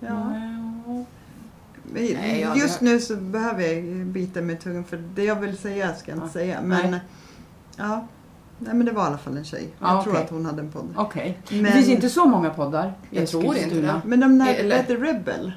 Speaker 3: ja. Men
Speaker 2: Nej, jag
Speaker 3: Just
Speaker 2: hade-
Speaker 3: nu så behöver jag bita mig i tungan för det jag vill säga ska jag inte
Speaker 1: Ja.
Speaker 3: säga. Men,
Speaker 1: Nej.
Speaker 3: Ja. Nej, men det var i alla fall en tjej.
Speaker 1: Ja,
Speaker 3: jag tror
Speaker 1: okej.
Speaker 3: att hon hade en podd.
Speaker 1: Okej.
Speaker 3: Men-
Speaker 1: Det finns inte så många poddar i
Speaker 2: Jag tror inte
Speaker 1: Eskilstuna.
Speaker 2: det.
Speaker 3: Men de där,
Speaker 2: Eller-
Speaker 3: vad heter Rebel?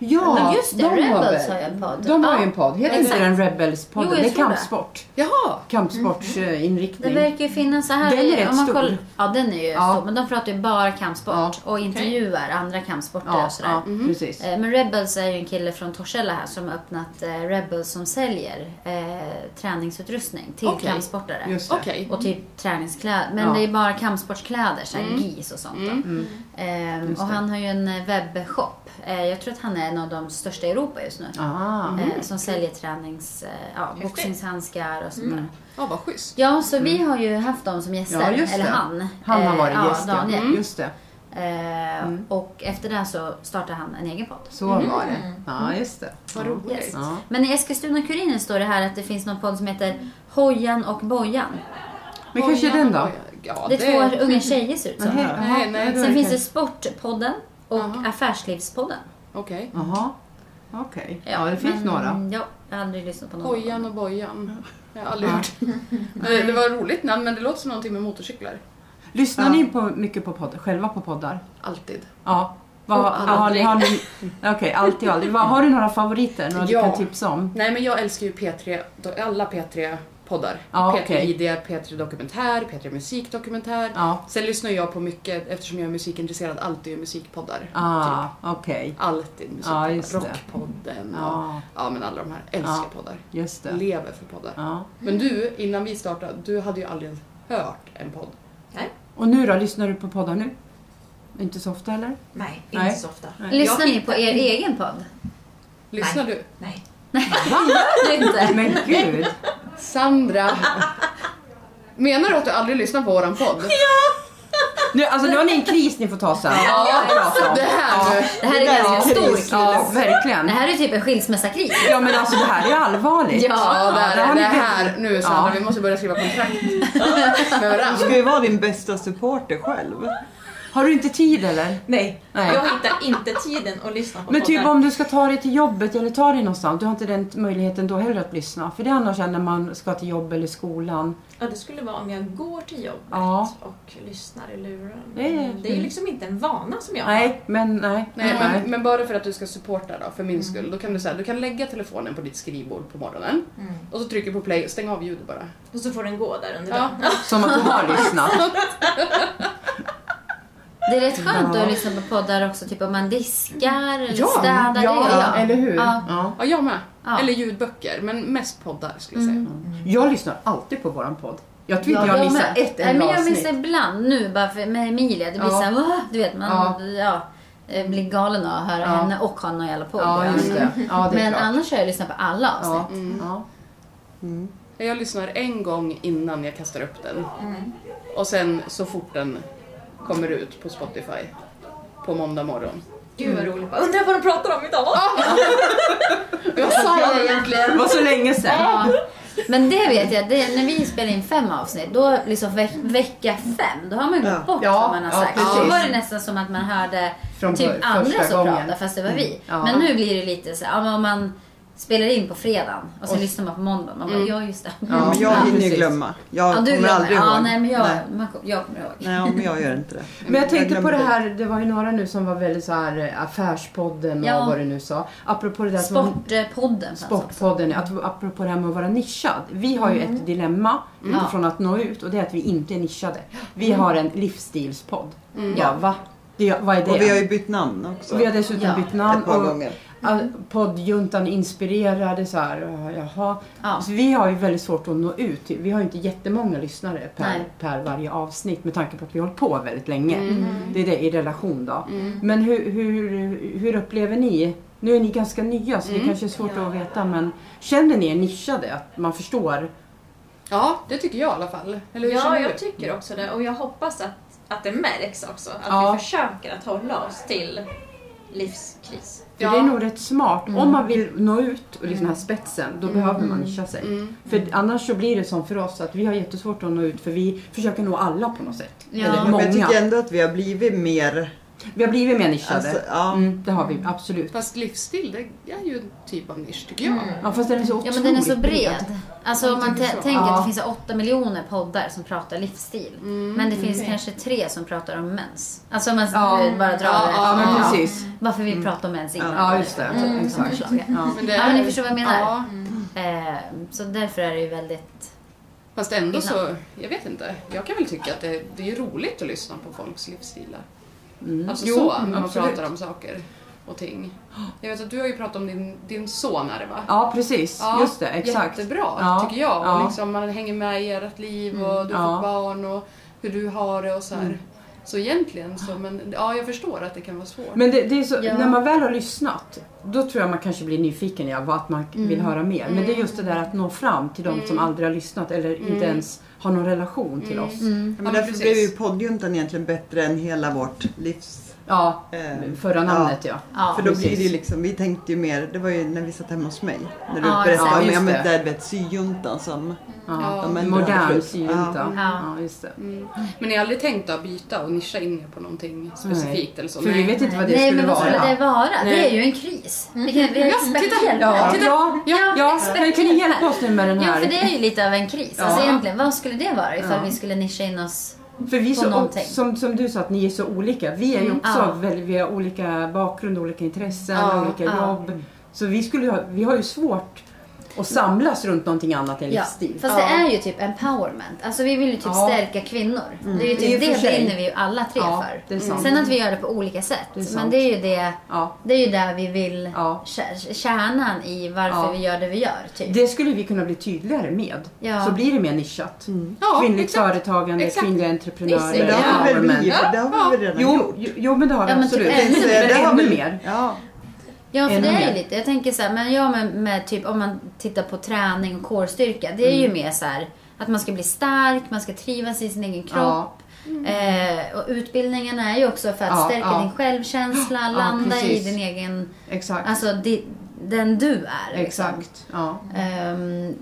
Speaker 1: Ja,
Speaker 5: Men just det,
Speaker 1: de har,
Speaker 5: Rebels
Speaker 1: väl-
Speaker 5: har ju en podd.
Speaker 1: De har
Speaker 5: Ja,
Speaker 1: ju en podd. Heter inte
Speaker 5: exakt.
Speaker 1: den Rebels-podden?
Speaker 5: Jo, jag
Speaker 1: det är
Speaker 5: tror det. Mm.
Speaker 1: kampsport.
Speaker 2: Jaha!
Speaker 5: Det
Speaker 1: Kampsportsinriktning.
Speaker 5: verkar ju finnas så här.
Speaker 1: Den är rätt
Speaker 5: om man
Speaker 1: stor.
Speaker 5: kollar- ja, den är ju
Speaker 1: Ja.
Speaker 5: stor. Men de pratar ju bara kampsport
Speaker 1: Ja.
Speaker 5: och intervjuar andra kampsporter
Speaker 1: ja,
Speaker 5: och sådär.
Speaker 1: ja, precis.
Speaker 5: Eh, Men Rebels är ju en kille från Torshälla här som har öppnat eh, Rebels som säljer eh, träningsutrustning till
Speaker 2: Okej.
Speaker 5: kampsportare.
Speaker 1: Just det.
Speaker 2: Okej.
Speaker 5: Och typ träningskläder. Men
Speaker 1: Ja.
Speaker 5: det är bara kampsportskläder, så här
Speaker 2: Mm.
Speaker 5: GIS och sånt. Då.
Speaker 2: Mm.
Speaker 5: Ehm,
Speaker 1: Just
Speaker 5: och
Speaker 1: det.
Speaker 5: han har ju en eh, webbshop. Eh, jag tror att han är en av de största i Europa just nu.
Speaker 1: Ah.
Speaker 5: Eh, som säljer tränings, eh, ja,
Speaker 4: Häftigt.
Speaker 5: boxningshandskar och sånt där.
Speaker 2: Ja, vad schysst.
Speaker 5: Ja, så vi har ju haft dem som gäster.
Speaker 1: Mm. Ja, just
Speaker 5: eller
Speaker 1: det.
Speaker 5: han.
Speaker 1: Han har
Speaker 5: Eh,
Speaker 1: varit
Speaker 5: ja,
Speaker 1: gäst, ja.
Speaker 5: Daniel.
Speaker 1: Just det.
Speaker 5: Eh,
Speaker 1: Mm.
Speaker 5: Och efter det så startade han en egen podd.
Speaker 1: Så var det. Ja, just det.
Speaker 2: Mm. Vad
Speaker 1: Ja.
Speaker 2: roligt.
Speaker 5: Yes.
Speaker 1: Ja.
Speaker 5: Men i Eskilstuna-Kuriren står det här att det finns någon podd som heter Hojan och Bojan.
Speaker 1: Men kanske
Speaker 2: Oj,
Speaker 1: den då?
Speaker 2: oj, oj. Ja,
Speaker 5: Det
Speaker 2: det,
Speaker 5: är två unga tjejer ser ut som.
Speaker 1: Nähä,
Speaker 2: Nej,
Speaker 1: jaha,
Speaker 2: nej.
Speaker 1: ja, då är
Speaker 5: Sen finns det
Speaker 1: kanske-
Speaker 5: Sportpodden och
Speaker 2: Aha.
Speaker 5: Affärslivspodden.
Speaker 2: Okej.
Speaker 1: Jaha, okej. Ja, det finns
Speaker 5: men,
Speaker 1: några.
Speaker 5: Ja, jag har aldrig lyssnat på någon.
Speaker 2: Hojan och bojan. Jag har aldrig hört. Men Det var ett roligt namn, men det låter som någonting med motorcyklar.
Speaker 1: Lyssnar
Speaker 3: Ja.
Speaker 1: ni på, mycket på podd, själva på poddar?
Speaker 2: Alltid.
Speaker 1: Ja. Vad,
Speaker 2: Och
Speaker 1: har, ni-
Speaker 2: aldrig.
Speaker 1: har ni, Okej, alltid och aldrig. Vad, har du några favoriter? Några
Speaker 2: Ja.
Speaker 1: du kan tipsa om?
Speaker 2: Nej, men jag älskar ju P3, do- alla P3-poddar.
Speaker 1: Ja,
Speaker 2: P3
Speaker 1: okej.
Speaker 2: ID, P3 Dokumentär, P3 Musikdokumentär.
Speaker 1: Ja.
Speaker 2: Sen lyssnar jag på mycket, eftersom jag är musikintresserad, alltid musikpoddar.
Speaker 1: Ah, okej.
Speaker 2: Alltid
Speaker 1: Ja,
Speaker 2: musikpoddar.
Speaker 1: just det.
Speaker 2: Rockpodden och
Speaker 1: Ja,
Speaker 2: ja, men alla de här. Älskar
Speaker 1: Ja.
Speaker 2: poddar.
Speaker 1: just det.
Speaker 2: Lever för poddar.
Speaker 1: Ja.
Speaker 2: Men du, innan vi startade, du hade ju aldrig ens hört en podd.
Speaker 1: Och nu då, lyssnar du på poddar nu? Inte så ofta eller?
Speaker 4: Nej, inte
Speaker 1: Nej.
Speaker 4: så ofta.
Speaker 1: Nej.
Speaker 5: Lyssnar
Speaker 4: Jag
Speaker 5: ni på
Speaker 4: hittar-
Speaker 5: er egen podd?
Speaker 2: Lyssnar du?
Speaker 4: Nej.
Speaker 5: Det är inte.
Speaker 1: Men gud!
Speaker 2: Sandra! Menar du att du aldrig lyssnar på våran podd?
Speaker 1: Nu, alltså, nu har ni en kris ni får ta sen. Ja,
Speaker 2: Det här nu!
Speaker 5: Det här är
Speaker 3: där är
Speaker 5: ganska stor
Speaker 3: kris.
Speaker 5: kris.
Speaker 1: ja verkligen.
Speaker 5: Det här är typ en skilsmässakris.
Speaker 1: Ja men alltså det här är allvarligt.
Speaker 2: Ja, det
Speaker 1: där har
Speaker 2: här,
Speaker 1: ni
Speaker 2: det
Speaker 1: bättre-
Speaker 2: här. Nu Sandra,
Speaker 1: Ja.
Speaker 2: vi måste börja skriva kontrakt med
Speaker 3: Du
Speaker 2: varandra.
Speaker 3: ska ju vara din bästa supporter själv.
Speaker 1: Har du inte tid eller?
Speaker 4: Nej.
Speaker 1: Nej.
Speaker 4: Jag hittar inte tiden att lyssna på
Speaker 1: Men typ
Speaker 4: poddar.
Speaker 1: om du ska ta dig till jobbet eller ta dig någonstans, du har inte den möjligheten då heller att lyssna. För det är annars när man ska till jobb eller skolan.
Speaker 4: Ja, det skulle vara om jag går till jobbet
Speaker 1: Ja.
Speaker 4: och lyssnar i luren.
Speaker 1: Det är-
Speaker 4: det är ju liksom inte en vana som jag har.
Speaker 1: Nej, men nej.
Speaker 2: Nej, men, men bara för att du ska supporta då, för min skull. Då kan du, så här, du kan lägga telefonen på ditt skrivbord på morgonen
Speaker 4: Mm.
Speaker 2: och så trycker du på play och stäng av ljudet bara.
Speaker 4: Och så får den gå där under
Speaker 2: Ja.
Speaker 4: dagen.
Speaker 1: Som att du har lyssnat.
Speaker 5: Det är rätt skönt
Speaker 1: Ja.
Speaker 5: att lyssna på poddar också, typ om man diskar eller
Speaker 1: Ja,
Speaker 5: städar. det
Speaker 1: ja,
Speaker 5: gör jag.
Speaker 1: eller hur?
Speaker 5: Ja.
Speaker 1: Ja. Mm.
Speaker 2: Ja, jag med.
Speaker 5: Ja.
Speaker 2: Eller ljudböcker, men mest poddar skulle jag säga.
Speaker 1: Jag lyssnar alltid på våran podd. Jag tror Typ inte
Speaker 5: Ja,
Speaker 1: jag missar
Speaker 5: med.
Speaker 1: ett
Speaker 5: Nej, men
Speaker 1: enda
Speaker 5: jag
Speaker 1: avsnitt.
Speaker 5: missar ibland nu bara för, med Emilia. Det blir
Speaker 1: Ja.
Speaker 5: såhär, "Wah", du vet, man
Speaker 1: Ja.
Speaker 5: ja. eh, blir galen av att höra
Speaker 1: Ja.
Speaker 5: henne och ha någon jävla podd.
Speaker 1: Ja, just det. Ja, det är
Speaker 5: Men
Speaker 1: klart.
Speaker 5: annars har jag lyssnat på alla avsnitt.
Speaker 1: Mm. Ja. Ja.
Speaker 2: Jag lyssnar en gång innan jag kastar upp den. Och sen så fort den kommer ut på Spotify på måndag morgon.
Speaker 4: Gud
Speaker 1: Mm.
Speaker 4: vad roligt. Bara, Undrar vad de pratar om idag?
Speaker 2: Vad sa jag egentligen?
Speaker 1: Det var så länge sedan.
Speaker 5: Ja. Men det vet jag, det, när vi spelade in fem avsnitt, då liksom ve vecka fem, då har man glömt
Speaker 3: Ja.
Speaker 5: bort
Speaker 1: Ja,
Speaker 5: vad man har
Speaker 1: ja,
Speaker 5: sagt.
Speaker 1: precis.
Speaker 5: Då var det nästan som att man hörde
Speaker 1: Från
Speaker 5: typ
Speaker 1: bör-
Speaker 5: andra
Speaker 1: första
Speaker 5: som
Speaker 1: gången.
Speaker 5: pratade, fast det var vi.
Speaker 1: Mm. Ja.
Speaker 5: Men nu blir det lite så ja, men om man spelar in på fredagen och sen lyssnar man på måndag, man bara,
Speaker 1: Mm.
Speaker 5: ja just det.
Speaker 3: Ja, men jag
Speaker 1: Ja,
Speaker 3: hinner ju
Speaker 1: precis.
Speaker 3: glömma. Jag
Speaker 5: Ja, du
Speaker 3: kommer
Speaker 5: glömmer.
Speaker 3: aldrig
Speaker 5: ja,
Speaker 3: ihåg.
Speaker 5: nej, men jag,
Speaker 3: nej.
Speaker 5: Man, kom- jag kommer ihåg.
Speaker 3: Nej, ja, men jag gör inte det.
Speaker 1: Men jag tänkte på
Speaker 3: glömmer
Speaker 1: det här, det var ju några nu som var väldigt så här eh, affärspodden och
Speaker 5: Ja.
Speaker 1: vad det nu sa. Apropå det där
Speaker 3: alltså,
Speaker 1: som-
Speaker 5: Sportpodden. fanns också.
Speaker 1: Sportpodden, att, apropå det här med att vara nischad. Vi har ju ett dilemma utifrån att nå ut och det är att vi inte är nischade. Vi har en livsstilspodd. Ja, va? Det, vad är det?
Speaker 3: Och vi har ju bytt namn också.
Speaker 1: Och vi har dessutom
Speaker 5: Ja.
Speaker 1: bytt namn.
Speaker 3: Ett par
Speaker 1: och-
Speaker 3: gånger.
Speaker 1: Ja, Poddjuntan inspirerade så här, ja, jaha.
Speaker 5: Ja.
Speaker 1: Så vi har ju väldigt svårt att nå ut. till- Vi har ju inte jättemånga lyssnare per,
Speaker 5: Nej.
Speaker 1: per varje avsnitt med tanke på att vi har hållit på väldigt länge. Det är det i relation då. Men hur, hur, hur upplever ni? Nu är ni ganska nya så det kanske är svårt att veta men känner ni er nischade? Att man förstår?
Speaker 2: Ja, det tycker jag i alla fall. Eller hur
Speaker 4: Ja,
Speaker 2: känner du?
Speaker 4: jag tycker också det. Och jag hoppas att, att det märks också. Att
Speaker 1: Ja.
Speaker 4: vi försöker att hålla oss till livskris.
Speaker 1: För
Speaker 2: Ja.
Speaker 1: det är nog rätt smart. Om man vill nå ut och liksom den här spetsen, då behöver man nischa sig.
Speaker 2: Mm.
Speaker 1: För annars så blir det som för oss att vi har jättesvårt att nå ut för vi försöker nå alla på något sätt.
Speaker 5: Ja.
Speaker 1: Eller
Speaker 5: Men
Speaker 3: Men
Speaker 1: många.
Speaker 3: jag tycker ändå att vi har blivit mer
Speaker 1: Vi har blivit mer nischade.
Speaker 3: Alltså, ja.
Speaker 1: mm, det har vi absolut.
Speaker 2: Fast livsstil, det är ju en typ av nisch tycker jag.
Speaker 1: Ja, fast den är så
Speaker 5: Ja
Speaker 1: otroligt
Speaker 5: men den är så bred. Alltså om man
Speaker 2: tänker
Speaker 5: tä-
Speaker 2: så.
Speaker 5: tänker att
Speaker 1: Ja.
Speaker 5: det finns 8 miljoner poddar som pratar livsstil. Men det finns
Speaker 1: Mm.
Speaker 5: kanske tre som pratar om mens. Alltså om man
Speaker 1: Ja.
Speaker 5: eh, bara drar
Speaker 2: Ja,
Speaker 5: det.
Speaker 1: Ja, men
Speaker 2: Ja.
Speaker 1: precis. Mm.
Speaker 5: Varför vi pratar om mens innan.
Speaker 1: Ja, just det.
Speaker 5: Typ, som
Speaker 1: Exakt.
Speaker 5: förslag, ja.
Speaker 1: Ja.
Speaker 2: Men det
Speaker 5: Ja,
Speaker 2: är-
Speaker 5: men ni förstår vad jag menar.
Speaker 2: Ja,
Speaker 5: Eh, så därför är det ju väldigt...
Speaker 2: fast ändå så, jag vet inte. Jag kan väl tycka att det, det är ju roligt att lyssna på folks livsstilar.
Speaker 5: Mm.
Speaker 2: Alltså
Speaker 1: Mm. Jo,
Speaker 2: så, när man
Speaker 1: absolut.
Speaker 2: pratar om saker och ting. Jag vet att du har ju pratat om din, din son är det va?
Speaker 1: Ja, precis. Just det, exakt.
Speaker 2: Jättebra
Speaker 1: Ja,
Speaker 2: tycker jag. Och
Speaker 1: ja. Mm,
Speaker 2: liksom, man hänger med i ert liv och du
Speaker 1: ja. Mm.
Speaker 2: får barn och hur du har det och så här. Så egentligen så, men ja jag förstår att det kan vara svårt.
Speaker 1: Men det, det är så,
Speaker 5: Ja.
Speaker 1: när man väl har lyssnat, då tror jag man kanske blir nyfiken ja, vad att man
Speaker 5: Mm.
Speaker 1: vill höra mer. Men det är just det där att nå fram till de som aldrig har lyssnat eller
Speaker 5: Mm.
Speaker 1: inte ens har någon relation till oss.
Speaker 3: Ja,
Speaker 2: Ja,
Speaker 3: men
Speaker 2: men
Speaker 3: därför
Speaker 2: precis.
Speaker 3: blev ju poddjuntan egentligen bättre än hela vårt livs...
Speaker 1: Ja,
Speaker 3: Eh,
Speaker 1: förra namnet ja.
Speaker 5: Ja.
Speaker 3: För då
Speaker 1: precis.
Speaker 3: blir det ju liksom, vi tänkte ju mer, det var ju när vi satt hemma hos mig. När du
Speaker 5: Ja,
Speaker 3: berättade
Speaker 1: exakt.
Speaker 3: om ja,
Speaker 1: Just
Speaker 3: men
Speaker 1: det.
Speaker 3: där vet syjuntan som...
Speaker 1: ja.
Speaker 2: Ja,
Speaker 3: men-
Speaker 1: Modern
Speaker 3: Ja.
Speaker 1: syjunta.
Speaker 5: Ja.
Speaker 1: Ja, just det.
Speaker 2: Mm. Men ni har aldrig tänkt att byta och nischa in er på någonting specifikt eller så?
Speaker 1: För vi vet inte vad det
Speaker 5: Nej,
Speaker 1: skulle
Speaker 5: men vad
Speaker 1: vara.
Speaker 5: skulle det vara? Det
Speaker 2: Nej.
Speaker 5: är ju en kris. Vi, kan, vi är
Speaker 2: Ja,
Speaker 5: experthjälp.
Speaker 1: Ja, ja,
Speaker 5: Ja,
Speaker 1: ja, men kan ni hjälpa oss nu med den
Speaker 5: Ja,
Speaker 1: här?
Speaker 5: för det är ju lite av en kris.
Speaker 1: Ja.
Speaker 5: Alltså egentligen, vad skulle det vara ifall
Speaker 1: Ja.
Speaker 5: vi skulle nischa in oss?
Speaker 1: För vi är
Speaker 5: på
Speaker 1: så,
Speaker 5: någonting.
Speaker 1: som, som du sa, att ni är så olika. Vi är ju också
Speaker 5: Ja.
Speaker 1: väldigt, vi har olika bakgrund, olika intressen,
Speaker 2: Ja,
Speaker 1: olika
Speaker 5: ja.
Speaker 1: jobb. Så vi, skulle, ju ha- vi har ju svårt att samlas runt någonting annat än
Speaker 5: Ja,
Speaker 1: livsstil.
Speaker 5: fast det är ju typ empowerment. Alltså vi vill ju typ
Speaker 1: Ja. Mm.
Speaker 5: stärka kvinnor. Det är ju
Speaker 1: I
Speaker 5: typ
Speaker 1: och för
Speaker 5: det
Speaker 1: sig.
Speaker 5: brinner vi ju alla tre
Speaker 1: Ja,
Speaker 5: för. Mm.
Speaker 1: det är sant.
Speaker 5: Sen att vi gör det på olika sätt.
Speaker 1: Det är sant.
Speaker 5: men det är ju det,
Speaker 1: Ja.
Speaker 5: det är ju där vi vill,
Speaker 1: Ja.
Speaker 5: kä- kärnan i varför
Speaker 1: Ja.
Speaker 5: vi gör det vi gör. Typ.
Speaker 1: Det skulle vi kunna bli tydligare med.
Speaker 5: Ja.
Speaker 1: Så blir det mer nischat.
Speaker 2: Ja,
Speaker 1: Kvinnligt
Speaker 2: exakt.
Speaker 1: företagande,
Speaker 2: Exakt.
Speaker 1: kvinnliga
Speaker 3: Men
Speaker 1: entreprenörer,
Speaker 3: det har vi väl
Speaker 1: empowerment.
Speaker 3: blivit, det har vi väl redan
Speaker 1: Jo,
Speaker 3: gjort.
Speaker 1: jo, jo, men det har vi
Speaker 5: Ja, men typ
Speaker 1: absolut.
Speaker 5: ännu
Speaker 1: Men
Speaker 5: mer.
Speaker 1: ännu,
Speaker 3: Det har vi-
Speaker 1: mer.
Speaker 3: Ja.
Speaker 5: Ja, för
Speaker 1: Ännu
Speaker 5: det är
Speaker 1: mer.
Speaker 5: ju lite, jag tänker så här, men ja med, med typ om man tittar på träning och core-styrka, det är
Speaker 1: Mm.
Speaker 5: ju mer så här att man ska bli stark, man ska trivas i sin egen kropp. Eh, och utbildningen är ju också för att
Speaker 1: Ja,
Speaker 5: stärka
Speaker 1: ja.
Speaker 5: din självkänsla,
Speaker 1: Ja,
Speaker 5: landa i
Speaker 1: precis.
Speaker 5: din egen,
Speaker 1: Exakt.
Speaker 5: alltså di, den du är. liksom.
Speaker 1: Exakt. Mm. Ja.
Speaker 5: Ehm,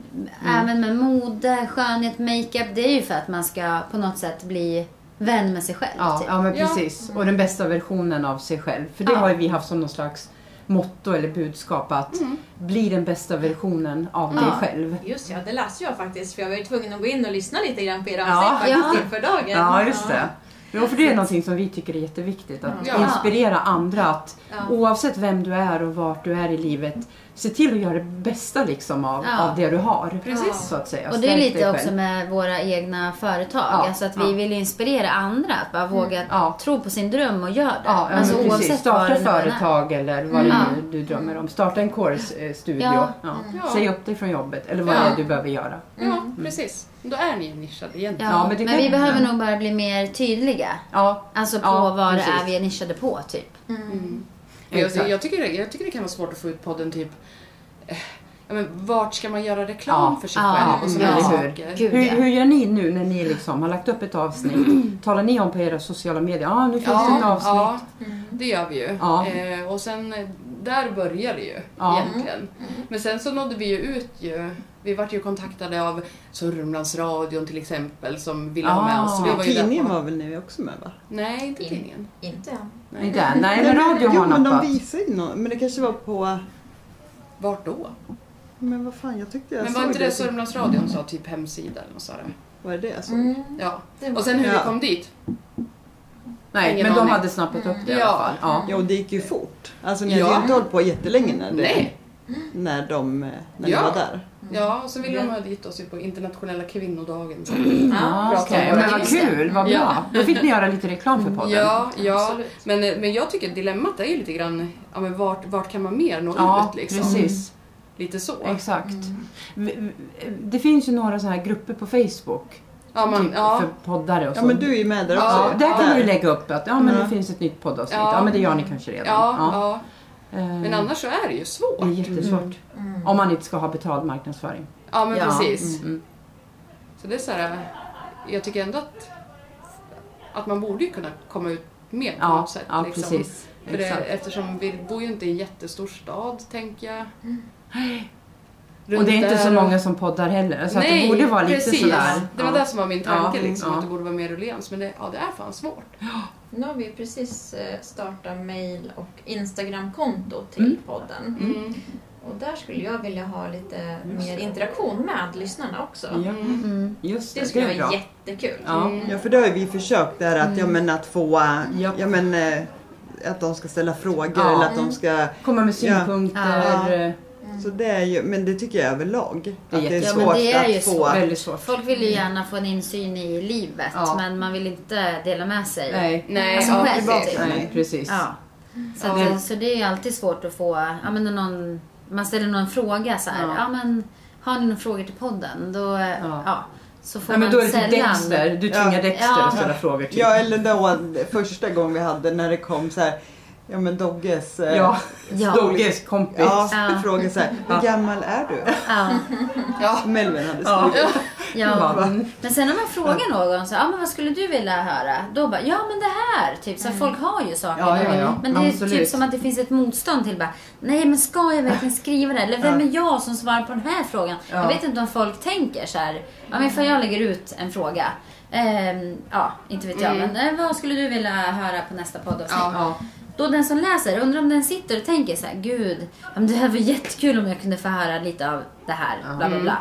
Speaker 5: Även med mode, skönhet, makeup, det är ju för att man ska på något sätt bli vän med sig själv.
Speaker 1: Ja,
Speaker 5: typ.
Speaker 1: ja men
Speaker 2: Ja.
Speaker 1: precis. Och den bästa versionen av sig själv. För det
Speaker 5: Ja.
Speaker 1: har ju vi haft som någon slags motto eller budskap att bli den bästa versionen av dig
Speaker 5: Ja.
Speaker 1: själv.
Speaker 4: Just ja, det läste jag faktiskt för jag var ju tvven att gå in och lyssna lite grann på era
Speaker 1: Ja.
Speaker 4: avsnitt
Speaker 5: Ja.
Speaker 4: faktiskt inför dagen.
Speaker 1: Ja, just det. Jo, för det är någonting som vi tycker är jätteviktigt. Att
Speaker 2: Ja.
Speaker 1: inspirera andra att
Speaker 4: Ja.
Speaker 1: oavsett vem du är och vart du är i livet, se till att göra det bästa liksom av,
Speaker 5: Ja.
Speaker 1: av det du har.
Speaker 2: Precis.
Speaker 1: Så att säga.
Speaker 5: Och det är
Speaker 1: Stärk dig
Speaker 5: lite också
Speaker 1: själv.
Speaker 5: med våra egna företag.
Speaker 1: Ja,
Speaker 5: alltså att
Speaker 1: ja. Mm.
Speaker 5: vi vill ju inspirera andra att bara våga
Speaker 1: Ja.
Speaker 5: tro på sin dröm och göra det.
Speaker 1: Ja, ja
Speaker 5: alltså
Speaker 1: men precis. Starta
Speaker 5: vad det nu än är.
Speaker 1: företag eller vad det
Speaker 5: Mm.
Speaker 1: nu du drömmer om. Starta en kårstudio.
Speaker 5: Ja.
Speaker 1: Ja.
Speaker 2: Ja.
Speaker 1: Säg upp dig från jobbet eller vad
Speaker 2: Ja.
Speaker 1: det är du behöver göra.
Speaker 2: Ja, precis. Då är ni nischade egentligen.
Speaker 5: Ja,
Speaker 1: Ja,
Speaker 5: men
Speaker 1: men det kan-
Speaker 5: vi behöver nog bara bli mer tydliga.
Speaker 1: Ja,
Speaker 5: Alltså på
Speaker 1: Ja,
Speaker 5: vad det
Speaker 1: precis.
Speaker 5: är vi är nischade på typ.
Speaker 2: Mm. Jag,
Speaker 1: Exakt.
Speaker 2: jag, tycker det, jag tycker det kan vara svårt att få ut podden typ eh, ja, men vart ska man göra reklam
Speaker 1: Ja.
Speaker 2: för sig
Speaker 5: Ja.
Speaker 2: själv och sådana
Speaker 1: Ja.
Speaker 2: här
Speaker 1: Eller
Speaker 2: saker.
Speaker 5: Gud
Speaker 1: Hur,
Speaker 5: ja.
Speaker 1: hur gör ni nu när ni liksom har lagt upp ett avsnitt? Talar ni om på era sociala medier? Ja, ah, nu finns det ett avsnitt.
Speaker 2: ja, det gör vi ju.
Speaker 1: Ja.
Speaker 2: Eh, och sen eh, där börjar det ju
Speaker 1: Ja. Mm.
Speaker 2: egentligen. Men sen så nådde vi ju ut ju. Vi vart ju kontaktade av Sörmlandsradion till exempel som ville ha med oss.
Speaker 1: Ah.
Speaker 2: Vi
Speaker 1: Ja, Mm.
Speaker 2: var ju där
Speaker 3: Tidningen
Speaker 2: på-
Speaker 3: var väl ni också med va?
Speaker 2: Nej, inte
Speaker 4: In.
Speaker 2: tidningen.
Speaker 4: Inte än.
Speaker 1: Nej, där. Nej, men radio
Speaker 3: jo,
Speaker 1: har
Speaker 3: men de
Speaker 1: nappat.
Speaker 3: visade ju någon, men det kanske var på...
Speaker 2: Vart då?
Speaker 3: Men vad fan, jag tyckte jag
Speaker 2: Men
Speaker 3: såg
Speaker 2: var inte det
Speaker 3: det.
Speaker 2: Sörmlandsradion sa typ hemsida eller något sådär?
Speaker 3: Var det det jag såg?
Speaker 4: Mm.
Speaker 2: Ja.
Speaker 4: Det var-
Speaker 2: Och sen hur vi
Speaker 3: Ja.
Speaker 2: kom dit.
Speaker 1: Nej,
Speaker 2: Ingen
Speaker 1: men de
Speaker 2: aning.
Speaker 1: hade snappat upp det i
Speaker 2: Ja.
Speaker 1: alla fall. Ja.
Speaker 3: Ja, och det gick ju fort. Alltså ni hade
Speaker 2: Ja.
Speaker 3: ju inte hållit på jättelänge när, det,
Speaker 2: Nej.
Speaker 3: när, de, eh, när
Speaker 2: Ja.
Speaker 3: ni var där.
Speaker 2: Ja, och så ville de ha dit oss ju på internationella kvinnodagen.
Speaker 1: Ah,
Speaker 2: Prata om
Speaker 1: okej.
Speaker 2: våra
Speaker 1: Men vad
Speaker 2: listor.
Speaker 1: kul, vad bra.
Speaker 2: Ja.
Speaker 1: Då fick ni göra lite reklam för podden.
Speaker 2: Ja, ja.
Speaker 4: Absolut.
Speaker 2: Men, eh, men jag tycker dilemmat är ju lite grann, ja, men vart, vart kan man mer nå
Speaker 1: Ja,
Speaker 2: ut liksom? Mm.
Speaker 1: precis.
Speaker 2: Lite så.
Speaker 1: Exakt. V- v- Det finns ju några sådana här grupper på Facebook.
Speaker 2: Ja, man,
Speaker 1: typ
Speaker 2: ja.
Speaker 1: För poddare och så.
Speaker 3: Ja, men du är ju med där också.
Speaker 1: Ja, där kan du lägga upp att ja, men
Speaker 3: Mm.
Speaker 1: det finns ett nytt poddavsnitt.
Speaker 2: Ja.
Speaker 1: Ja, men det gör ni kanske redan.
Speaker 2: Ja,
Speaker 1: Ja.
Speaker 2: ja.
Speaker 1: Eh,
Speaker 2: Men annars så är det ju
Speaker 1: Det är
Speaker 2: svårt.
Speaker 1: jättesvårt.
Speaker 3: Mm.
Speaker 4: Mm.
Speaker 1: Om man inte ska ha betald marknadsföring.
Speaker 2: Ja, men
Speaker 5: Ja.
Speaker 2: precis.
Speaker 1: Mm.
Speaker 2: Så det är så här, jag tycker ändå att, att man borde ju kunna komma ut mer på
Speaker 1: Ja,
Speaker 2: något sätt.
Speaker 1: ja
Speaker 2: liksom.
Speaker 1: precis.
Speaker 2: För det,
Speaker 1: Exakt.
Speaker 2: eftersom vi bor ju inte i en jättestor stad, tänker jag.
Speaker 1: Mm. Och det är inte så
Speaker 2: där-
Speaker 1: många som poddar heller. Så att det borde vara lite
Speaker 2: precis.
Speaker 1: sådär.
Speaker 2: Det var
Speaker 1: ja.
Speaker 2: det som var min tanke,
Speaker 1: Ja,
Speaker 2: liksom,
Speaker 1: ja.
Speaker 2: att det borde vara mer ruljans. Men det, ja, det är fan svårt.
Speaker 4: Nu har vi precis eh, startat mail och Instagramkonto till
Speaker 1: Mm.
Speaker 4: podden.
Speaker 2: Mm.
Speaker 4: Och där skulle jag vilja ha lite
Speaker 1: Just
Speaker 4: mer
Speaker 1: det.
Speaker 4: interaktion med lyssnarna också.
Speaker 1: Ja,
Speaker 2: Mm.
Speaker 5: Mm.
Speaker 1: just det.
Speaker 4: Det skulle
Speaker 1: det är
Speaker 4: vara
Speaker 1: bra.
Speaker 4: jättekul.
Speaker 1: Ja.
Speaker 2: Mm.
Speaker 3: Ja, för det har ju vi försökt där att, ja, men att få, eh,
Speaker 1: Japp.
Speaker 3: ja, men, eh, att de ska ställa frågor
Speaker 1: Ja.
Speaker 3: eller att de ska,
Speaker 1: Komma med
Speaker 3: Ja.
Speaker 1: synpunkter. eh,
Speaker 3: Ja. så det är ju, men det tycker jag överlag.
Speaker 1: Det är
Speaker 3: Att det är
Speaker 5: jätte- Ja,
Speaker 3: svårt
Speaker 5: men det är ju
Speaker 3: att få.
Speaker 5: svårt.
Speaker 1: Väldigt svårt.
Speaker 5: Folk vill ju gärna få en insyn i livet
Speaker 1: Mm. Ja.
Speaker 5: men man vill inte dela med sig.
Speaker 1: Nej,
Speaker 2: Nej,
Speaker 5: Alltså,
Speaker 2: ja,
Speaker 5: själv,
Speaker 2: precis.
Speaker 5: typ.
Speaker 1: nej precis.
Speaker 5: Ja. Så, att,
Speaker 1: Ja.
Speaker 5: så det är ju alltid svårt att få, ja men när någon, man ställer någon fråga så här,
Speaker 1: Ja.
Speaker 5: ja, men har ni några frågor till podden? Då, ja. så får
Speaker 1: Nej, men
Speaker 5: man
Speaker 1: då är det typ
Speaker 5: sällan.
Speaker 1: Dexter. Du tvingar
Speaker 3: Ja.
Speaker 1: Dexter
Speaker 5: Ja.
Speaker 1: att ställa frågor till.
Speaker 3: Ja, eller då första gången vi hade när det kom så här, ja men Dogges, eh,
Speaker 1: Ja,
Speaker 5: Ja.
Speaker 1: Dogges kompis.
Speaker 3: ja,
Speaker 5: Ja.
Speaker 3: frågor så här,
Speaker 1: Ja.
Speaker 3: hur gammal är du?
Speaker 5: Ja,
Speaker 3: Melvin hade
Speaker 1: Ja.
Speaker 3: skrivit.
Speaker 5: ja.
Speaker 1: Mm.
Speaker 5: Men sen om man frågar någon så, ja men vad skulle du vilja höra? Då bara, ja men det här! Typ, så här, folk har ju saker.
Speaker 1: Mm. Ja, ja,
Speaker 5: där.
Speaker 1: ja.
Speaker 5: Men det är
Speaker 1: Absolut.
Speaker 5: typ som att det finns ett motstånd till bara, nej men ska jag verkligen skriva det? här? Eller vem är jag som svarar på den här frågan?
Speaker 1: Ja.
Speaker 5: Jag vet inte om folk tänker så här, ja men för jag lägger ut en fråga. Ehm, ja, inte vet jag. Men eh, vad skulle du vilja höra på nästa poddavsnitt?
Speaker 1: Mm. Ja.
Speaker 5: Då den som läser, undrar om den sitter och tänker så här, gud, ja, men det här var jättekul om jag kunde få höra lite av det här, bla bla bla.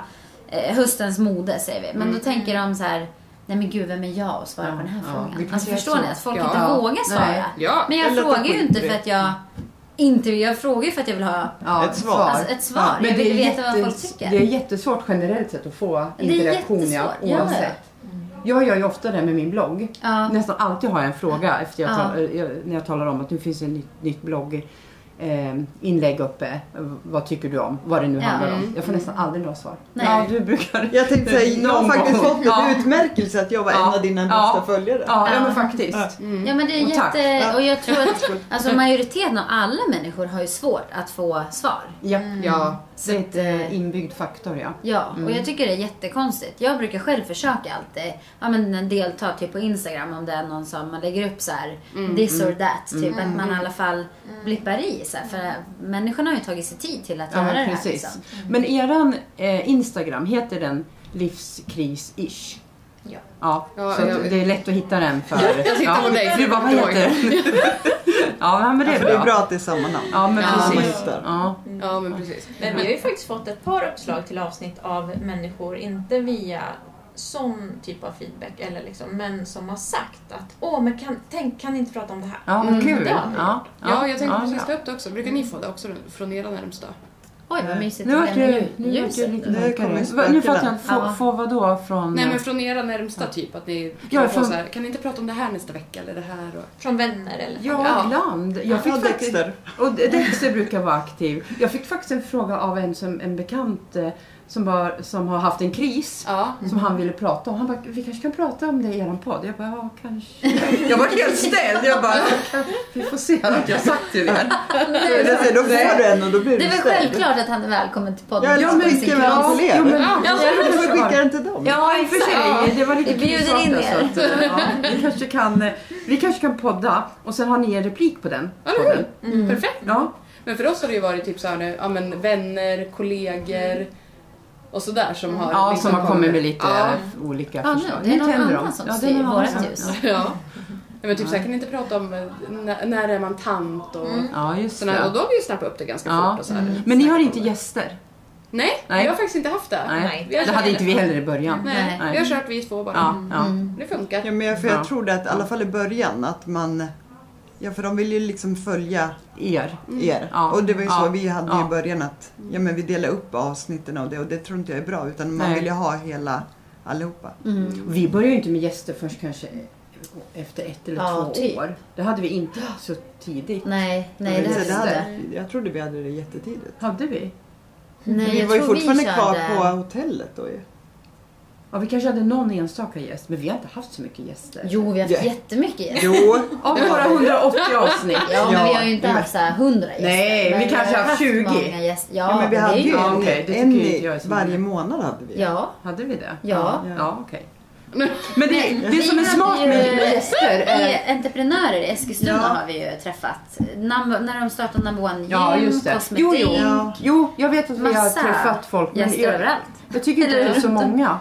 Speaker 5: Eh, höstens mode säger vi. Men då tänker de så här, nej men gud, vem är jag att svara
Speaker 1: Mm. Ja,
Speaker 5: på den här
Speaker 1: ja.
Speaker 5: frågan?
Speaker 1: Det kan
Speaker 5: alltså
Speaker 1: jag
Speaker 5: förstår
Speaker 1: tro.
Speaker 5: ni att folk
Speaker 2: Ja.
Speaker 5: inte
Speaker 1: Ja.
Speaker 5: vågar svara?
Speaker 1: Nej.
Speaker 2: Ja.
Speaker 5: Men jag
Speaker 3: Eller att de
Speaker 5: frågar ju inte för
Speaker 3: skiter i.
Speaker 5: att jag inte vill, jag frågar ju för att jag vill ha
Speaker 1: Ja,
Speaker 3: Ett svar.
Speaker 5: alltså, ett svar.
Speaker 1: Men
Speaker 5: jag
Speaker 1: det är,
Speaker 5: vill veta
Speaker 1: jätte-
Speaker 5: vad folk tycker.
Speaker 1: det är jättesvårt generellt sett att få
Speaker 5: Det är
Speaker 1: interaktion ja,
Speaker 5: jättesvårt, ja. Mm.
Speaker 1: oavsett. Jag gör ju ofta det med min blogg.
Speaker 5: Ja.
Speaker 1: Nästan alltid har jag en fråga efter jag
Speaker 5: Ja.
Speaker 1: tal- eh, jag, när jag talar om att nu finns ett nytt, nytt blogg eh, inlägg uppe. Eh, Vad tycker du om? Vad det nu
Speaker 5: Ja.
Speaker 1: handlar om.
Speaker 2: Mm.
Speaker 1: Jag får nästan aldrig några svar.
Speaker 5: Nej.
Speaker 1: Ja, du brukar...
Speaker 3: Jag tänkte säga, jag har
Speaker 1: Någon
Speaker 3: faktiskt
Speaker 1: gång.
Speaker 3: fått en
Speaker 1: Ja.
Speaker 3: utmärkelse att jag var en
Speaker 1: Ja.
Speaker 3: av dina
Speaker 1: Ja.
Speaker 3: bästa följare.
Speaker 1: Ja, ja,
Speaker 5: Ja.
Speaker 1: men faktiskt.
Speaker 5: Ja men det är
Speaker 1: Och tack.
Speaker 5: jätte, och jag tror att alltså, majoriteten av alla människor har ju svårt att få svar.
Speaker 1: Ja.
Speaker 5: Mm.
Speaker 2: Mm. Ja.
Speaker 1: Det är ett eh, inbyggd faktor, ja.
Speaker 5: Ja, och jag tycker det är jättekonstigt. Jag brukar själv försöka alltid ja, men delta typ på Instagram om det är någon som man lägger upp så här this or that. Typ att man i alla fall blippar i. Så här, för människorna har ju tagit sig tid till att
Speaker 1: Ja,
Speaker 5: göra det
Speaker 1: men
Speaker 5: här.
Speaker 1: precis.
Speaker 5: Liksom.
Speaker 1: Men eran eh, Instagram, heter den livskris-ish?
Speaker 4: Ja.
Speaker 1: Ja,
Speaker 2: Ja,
Speaker 1: så att
Speaker 2: jag-
Speaker 1: det är lätt att hitta den för...
Speaker 2: Jag tittar på dig, för
Speaker 1: Du bara, vad
Speaker 2: jag kommer inte
Speaker 1: heter den? ja, men det är
Speaker 3: För Alltså, det är
Speaker 1: bra.
Speaker 3: bra att det är samma namn.
Speaker 1: Ja, men
Speaker 2: Ja,
Speaker 3: man
Speaker 1: precis.
Speaker 3: hittar.
Speaker 1: Ja.
Speaker 2: Ja, men precis.
Speaker 4: Men vi har ju faktiskt fått ett par uppslag till avsnitt av människor, inte via sån typ av feedback, eller liksom, men som har sagt att åh, men kan, tänk, kan ni inte prata om det här?
Speaker 1: Ja, men kul.
Speaker 4: det har vi
Speaker 1: Ja,
Speaker 2: Mm. Ja, jag tänkte
Speaker 1: ja,
Speaker 2: precis
Speaker 1: bra.
Speaker 2: ta upp det också. Brukar ni få det också från era närmsta?
Speaker 5: Oj vad mysigt
Speaker 1: Nu
Speaker 5: det
Speaker 1: vart
Speaker 5: blev
Speaker 1: du,
Speaker 5: med
Speaker 1: nu vart
Speaker 5: ljuset.
Speaker 1: du lite
Speaker 3: Nu
Speaker 1: mörkare.
Speaker 3: kommer
Speaker 1: Va- Nu fattar jag
Speaker 3: spökena.
Speaker 1: inte. Få,
Speaker 5: Ja.
Speaker 1: få vadå från...
Speaker 2: Nej, men från era närmsta typ. Att ni kan,
Speaker 1: Ja,
Speaker 2: få
Speaker 1: från-
Speaker 2: så här, kan ni inte prata om det här nästa vecka eller det här? Och...
Speaker 4: Från vänner eller
Speaker 1: Ja, ibland. Jag fick
Speaker 3: Ja,
Speaker 1: faktiskt,
Speaker 3: Dexter.
Speaker 1: Och Dexter brukar vara aktiv. Jag fick faktiskt en fråga av en, som, en bekant eh, som, var, som har haft en kris.
Speaker 2: Ja.
Speaker 1: Som han ville prata om. Han bara, vi kanske kan prata om det i eran podd? Jag bara, ja kanske. Jag var helt ställd. Jag bara, vi får se att jag sagt till er.
Speaker 3: Jag säger, Då får du en och då blir
Speaker 5: Det
Speaker 3: du
Speaker 5: är väl
Speaker 3: ställd.
Speaker 5: självklart att han är välkommen till podden.
Speaker 3: Ja, eller
Speaker 5: Just på
Speaker 3: så skickar vi
Speaker 5: Instagram.
Speaker 3: honom till
Speaker 1: jo,
Speaker 3: er.
Speaker 1: men-
Speaker 2: Ja,
Speaker 3: Du får skicka den till dem.
Speaker 1: Ja, i och för sig. Det var lite
Speaker 5: Vi bjuder
Speaker 1: krisartat,
Speaker 5: in er.
Speaker 1: så att, eh, ja, vi, kanske kan, eh, vi kanske kan podda och sen har ni en replik på den.
Speaker 2: Eller hur?
Speaker 1: podden.
Speaker 2: Perfekt.
Speaker 1: Ja.
Speaker 2: Men för oss har det ju varit typ så här nu, ja men vänner, kollegor och sådär som har
Speaker 1: Mm. Ja,
Speaker 2: liksom
Speaker 1: som har kommit med lite
Speaker 2: Ja.
Speaker 1: eh, olika
Speaker 5: Ja, nu,
Speaker 1: förslag.
Speaker 5: det är någon
Speaker 1: tänder de.
Speaker 5: annan som
Speaker 1: Ja, det är
Speaker 5: styr
Speaker 1: någon
Speaker 5: vårat
Speaker 1: annan.
Speaker 5: ljus.
Speaker 2: Ja. Nej, men typ så här, kan ni inte prata om eh, när, när är man tant och
Speaker 1: Mm. Ja, just
Speaker 2: sådana här. Och
Speaker 1: det.
Speaker 2: då har vi ju snappat upp det ganska
Speaker 1: Ja.
Speaker 2: fort och så här.
Speaker 1: Men ni har inte gäster?
Speaker 2: Nej,
Speaker 1: Nej.
Speaker 2: vi har faktiskt inte haft det.
Speaker 1: Nej,
Speaker 2: Vi har
Speaker 1: det
Speaker 2: kört-
Speaker 1: hade inte vi heller i början.
Speaker 2: Nej,
Speaker 1: Nej.
Speaker 2: vi har kört vi två bara.
Speaker 1: Ja, ja.
Speaker 5: Mm.
Speaker 2: Det funkar.
Speaker 3: Ja, men jag, för
Speaker 1: Ja.
Speaker 3: jag tror det att i alla fall i början att man... Ja, för de vill ju liksom följa
Speaker 1: Er.
Speaker 3: er.
Speaker 1: Mm. Ja.
Speaker 3: Och det var ju så
Speaker 1: Ja.
Speaker 3: vi hade
Speaker 1: Ja.
Speaker 3: i början att ja, men vi delade upp avsnitten av det och det tror inte jag är bra utan man
Speaker 1: Nej. Mm.
Speaker 3: vill ju ha hela allihopa.
Speaker 1: Vi började ju inte med gäster först kanske efter ett eller
Speaker 5: Ja,
Speaker 1: två
Speaker 5: typ.
Speaker 1: år. Det hade vi inte så tidigt.
Speaker 5: Nej, nej
Speaker 3: Men
Speaker 5: det
Speaker 3: så
Speaker 5: har vi
Speaker 1: det
Speaker 5: inte.
Speaker 3: hade, jag trodde vi hade det jättetidigt.
Speaker 1: Hade vi?
Speaker 5: Nej,
Speaker 3: vi
Speaker 5: jag
Speaker 3: var ju
Speaker 5: tror vi
Speaker 3: fortfarande kvar
Speaker 5: körde-
Speaker 3: på hotellet då ju.
Speaker 1: Ja, vi kanske hade någon enstaka gäst, men vi har inte haft så mycket gäster.
Speaker 5: Jo, vi har haft
Speaker 3: Ja.
Speaker 5: jättemycket gäster.
Speaker 3: Jo,
Speaker 1: Av våra 180 avsnitt.
Speaker 5: Ja, men vi har ju inte
Speaker 3: Ja.
Speaker 5: haft så här 100 gäster.
Speaker 1: Nej, vi
Speaker 5: Men
Speaker 1: kanske har haft 20.
Speaker 5: Många gäster. Ja,
Speaker 3: ja, men vi
Speaker 5: det är
Speaker 3: hade ju
Speaker 1: Ja,
Speaker 3: en,
Speaker 1: okej, det tycker
Speaker 3: en
Speaker 1: inte
Speaker 3: i-
Speaker 1: jag är så
Speaker 3: varje
Speaker 1: många.
Speaker 3: månade hade vi.
Speaker 5: Ja,
Speaker 1: Hade vi det?
Speaker 5: Ja.
Speaker 1: Ja, okej. Men det, det som är
Speaker 5: Vi hade
Speaker 1: smart
Speaker 5: ju-
Speaker 1: med gäster är...
Speaker 5: E- entreprenörer i Eskilstuna
Speaker 3: Ja.
Speaker 5: har vi ju träffat. Number, när de startade Number One Gym,
Speaker 1: Ja, just det.
Speaker 5: Cosmetic.
Speaker 1: Jo, jo.
Speaker 3: Ja.
Speaker 1: jo, jag vet att vi har
Speaker 5: Massa
Speaker 1: träffat folk.
Speaker 5: gäster
Speaker 1: jag,
Speaker 5: överallt.
Speaker 1: jag tycker inte det är så många.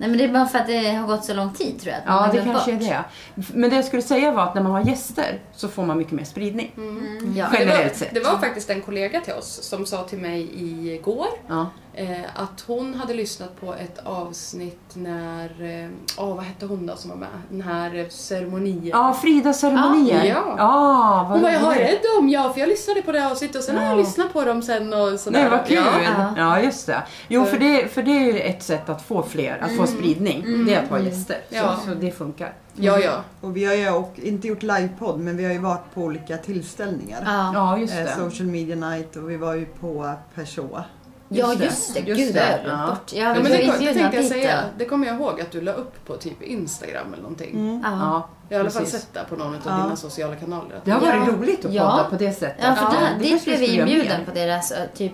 Speaker 5: Nej men det är bara för att det har gått så lång tid tror jag. Att man
Speaker 1: Ja,
Speaker 5: har
Speaker 1: det
Speaker 5: glömt
Speaker 1: kanske är
Speaker 5: bort.
Speaker 1: det. Men det jag skulle säga var att när man har gäster så får man mycket mer spridning.
Speaker 5: Mm. Ja.
Speaker 2: Det var,
Speaker 1: Generellt sett.
Speaker 2: det var faktiskt en kollega till oss som sa till mig igår
Speaker 1: Ja.
Speaker 2: eh, att hon hade lyssnat på ett avsnitt när, eh, åh, vad hette hon då som var med? Den här eh, ceremonin.
Speaker 1: Ja, Frida-ceremonier.
Speaker 2: Ah, ja.
Speaker 1: Ah, vad
Speaker 2: Hon bara, jag har
Speaker 1: roligt.
Speaker 2: rädd om, ja för jag lyssnade på det här avsnittet och sen har jag lyssnat på dem sen och sådär.
Speaker 1: Nej, vad kul!
Speaker 2: Ja.
Speaker 1: Ja, just det. Jo, för det, för det är ju ett sätt att få fler, att få spridning. Det är att ha gäster.
Speaker 2: Ja.
Speaker 1: Så, så det funkar.
Speaker 2: Ja, ja.
Speaker 3: Och vi har ju och, inte gjort livepodd, men vi har ju varit på olika tillställningar.
Speaker 5: Ja.
Speaker 1: Mm. Ja, just
Speaker 3: Eh,
Speaker 1: det.
Speaker 3: Social Media Night och vi var ju på Peugeot.
Speaker 5: ja, just det. Gud, det har jag glömt bort. Jag
Speaker 2: Ja,
Speaker 5: har
Speaker 2: men det, det
Speaker 5: intervjuat
Speaker 2: tänkte jag
Speaker 5: Peter.
Speaker 2: säga. Det kommer jag ihåg att du la upp på typ Instagram eller någonting.
Speaker 3: Mm.
Speaker 5: Ja.
Speaker 1: Ja,
Speaker 2: Jag har i alla fall
Speaker 1: precis.
Speaker 2: sett det på någon av dina sociala kanaler. Att
Speaker 1: Det har varit
Speaker 5: Ja.
Speaker 1: roligt att podda
Speaker 5: Ja.
Speaker 1: på det sättet.
Speaker 5: Ja, för där,
Speaker 1: det
Speaker 5: dit
Speaker 1: kanske skulle
Speaker 5: blev vi
Speaker 1: göra
Speaker 5: inbjuden
Speaker 1: mer. Mm.
Speaker 5: på deras ö, typ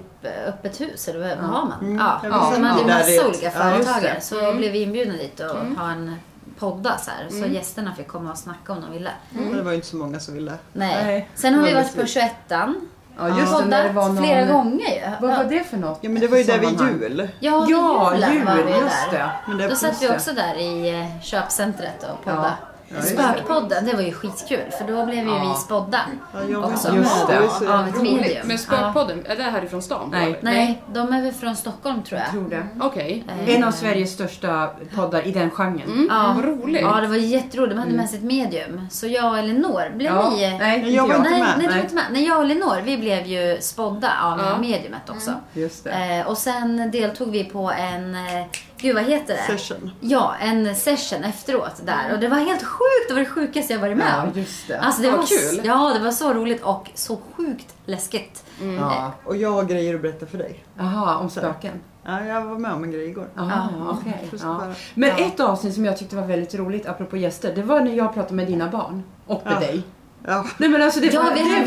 Speaker 5: öppet hus, eller vad vad har man? Ja,
Speaker 3: jag
Speaker 5: ja,
Speaker 3: vet
Speaker 5: man
Speaker 3: inte.
Speaker 5: hade ju
Speaker 3: Där är
Speaker 5: massa
Speaker 3: ett-
Speaker 5: olika
Speaker 3: ja, just det.
Speaker 5: företagare. Så blev vi inbjudna dit och
Speaker 1: Mm.
Speaker 5: ha en podda så här. Så gästerna fick komma och snacka om de ville.
Speaker 3: Men Mm. det var ju inte så många som ville.
Speaker 5: Nej.
Speaker 1: Nej,
Speaker 5: Sen har vi
Speaker 3: det var
Speaker 5: varit på
Speaker 3: precis.
Speaker 5: 21
Speaker 1: Ja, just det, när det
Speaker 5: Poddat
Speaker 1: var någon...
Speaker 5: flera gånger ju.
Speaker 1: Vad var
Speaker 5: Ja.
Speaker 1: det för något?
Speaker 3: Ja men det var ju där vid
Speaker 1: sammanhang?
Speaker 3: jul.
Speaker 5: Ja, vid
Speaker 1: Ja,
Speaker 5: julen var
Speaker 1: jul,
Speaker 5: vi
Speaker 1: just
Speaker 5: där.
Speaker 1: det.
Speaker 3: Men det,
Speaker 5: Då satt vi
Speaker 1: det.
Speaker 5: också där i eh, köpcentret och poddade.
Speaker 1: Ja, just det.
Speaker 5: Spökpodden, det var ju skitkul för då blev ju vi spådda
Speaker 3: Ja, jag var
Speaker 5: också.
Speaker 3: med.
Speaker 1: Just det.
Speaker 3: var så
Speaker 5: Av ett
Speaker 2: Roligt.
Speaker 5: medium.
Speaker 2: Men Spökpodden, är det härifrån stan?
Speaker 1: Nej.
Speaker 2: eller?
Speaker 5: Nej, de är väl från Stockholm tror jag.
Speaker 1: Tror det.
Speaker 2: Okej.
Speaker 5: Eh,
Speaker 1: Mm. En av Sveriges största poddar i den genren.
Speaker 2: Mm.
Speaker 5: Ja.
Speaker 2: Vad roligt.
Speaker 5: Ja, det var jätteroligt. De hade med sig ett medium. Så jag och Elinor, blev
Speaker 1: Mm. Ja.
Speaker 5: ni...
Speaker 1: Nej, inte
Speaker 3: jag var
Speaker 1: jag.
Speaker 3: inte
Speaker 5: nej,
Speaker 3: med.
Speaker 5: nej, du var
Speaker 1: Nej.
Speaker 5: inte med. Nej, jag och Elinor, vi blev ju spådda av
Speaker 2: Ja.
Speaker 5: mediumet också.
Speaker 1: Mm. Just det.
Speaker 5: Eh, och sen deltog vi på en, eh, gud vad heter det?
Speaker 3: Session.
Speaker 5: Ja, en session efteråt där. Och det var helt sjukt. Det var det sjukaste jag varit med
Speaker 1: Mm. Ja,
Speaker 5: om.
Speaker 1: just det.
Speaker 5: Alltså det
Speaker 2: Vad
Speaker 5: var
Speaker 2: kul.
Speaker 5: Ja, det var så roligt och så sjukt läskigt.
Speaker 1: Ja.
Speaker 3: Och jag har grejer att berätta för dig.
Speaker 1: Jaha, om spöken.
Speaker 3: Ja, jag var med om en grej igår.
Speaker 1: Aha,
Speaker 5: Ja.
Speaker 1: okej.
Speaker 3: Just
Speaker 1: ja.
Speaker 3: bara-
Speaker 1: Men ett avsnitt som jag tyckte var väldigt roligt, apropå gäster, det var när jag pratade med dina barn. Och med
Speaker 3: Ja.
Speaker 1: dig.
Speaker 3: Ja.
Speaker 1: Nej men alltså det
Speaker 5: Ja,
Speaker 1: var,
Speaker 5: vi
Speaker 1: det var
Speaker 5: hade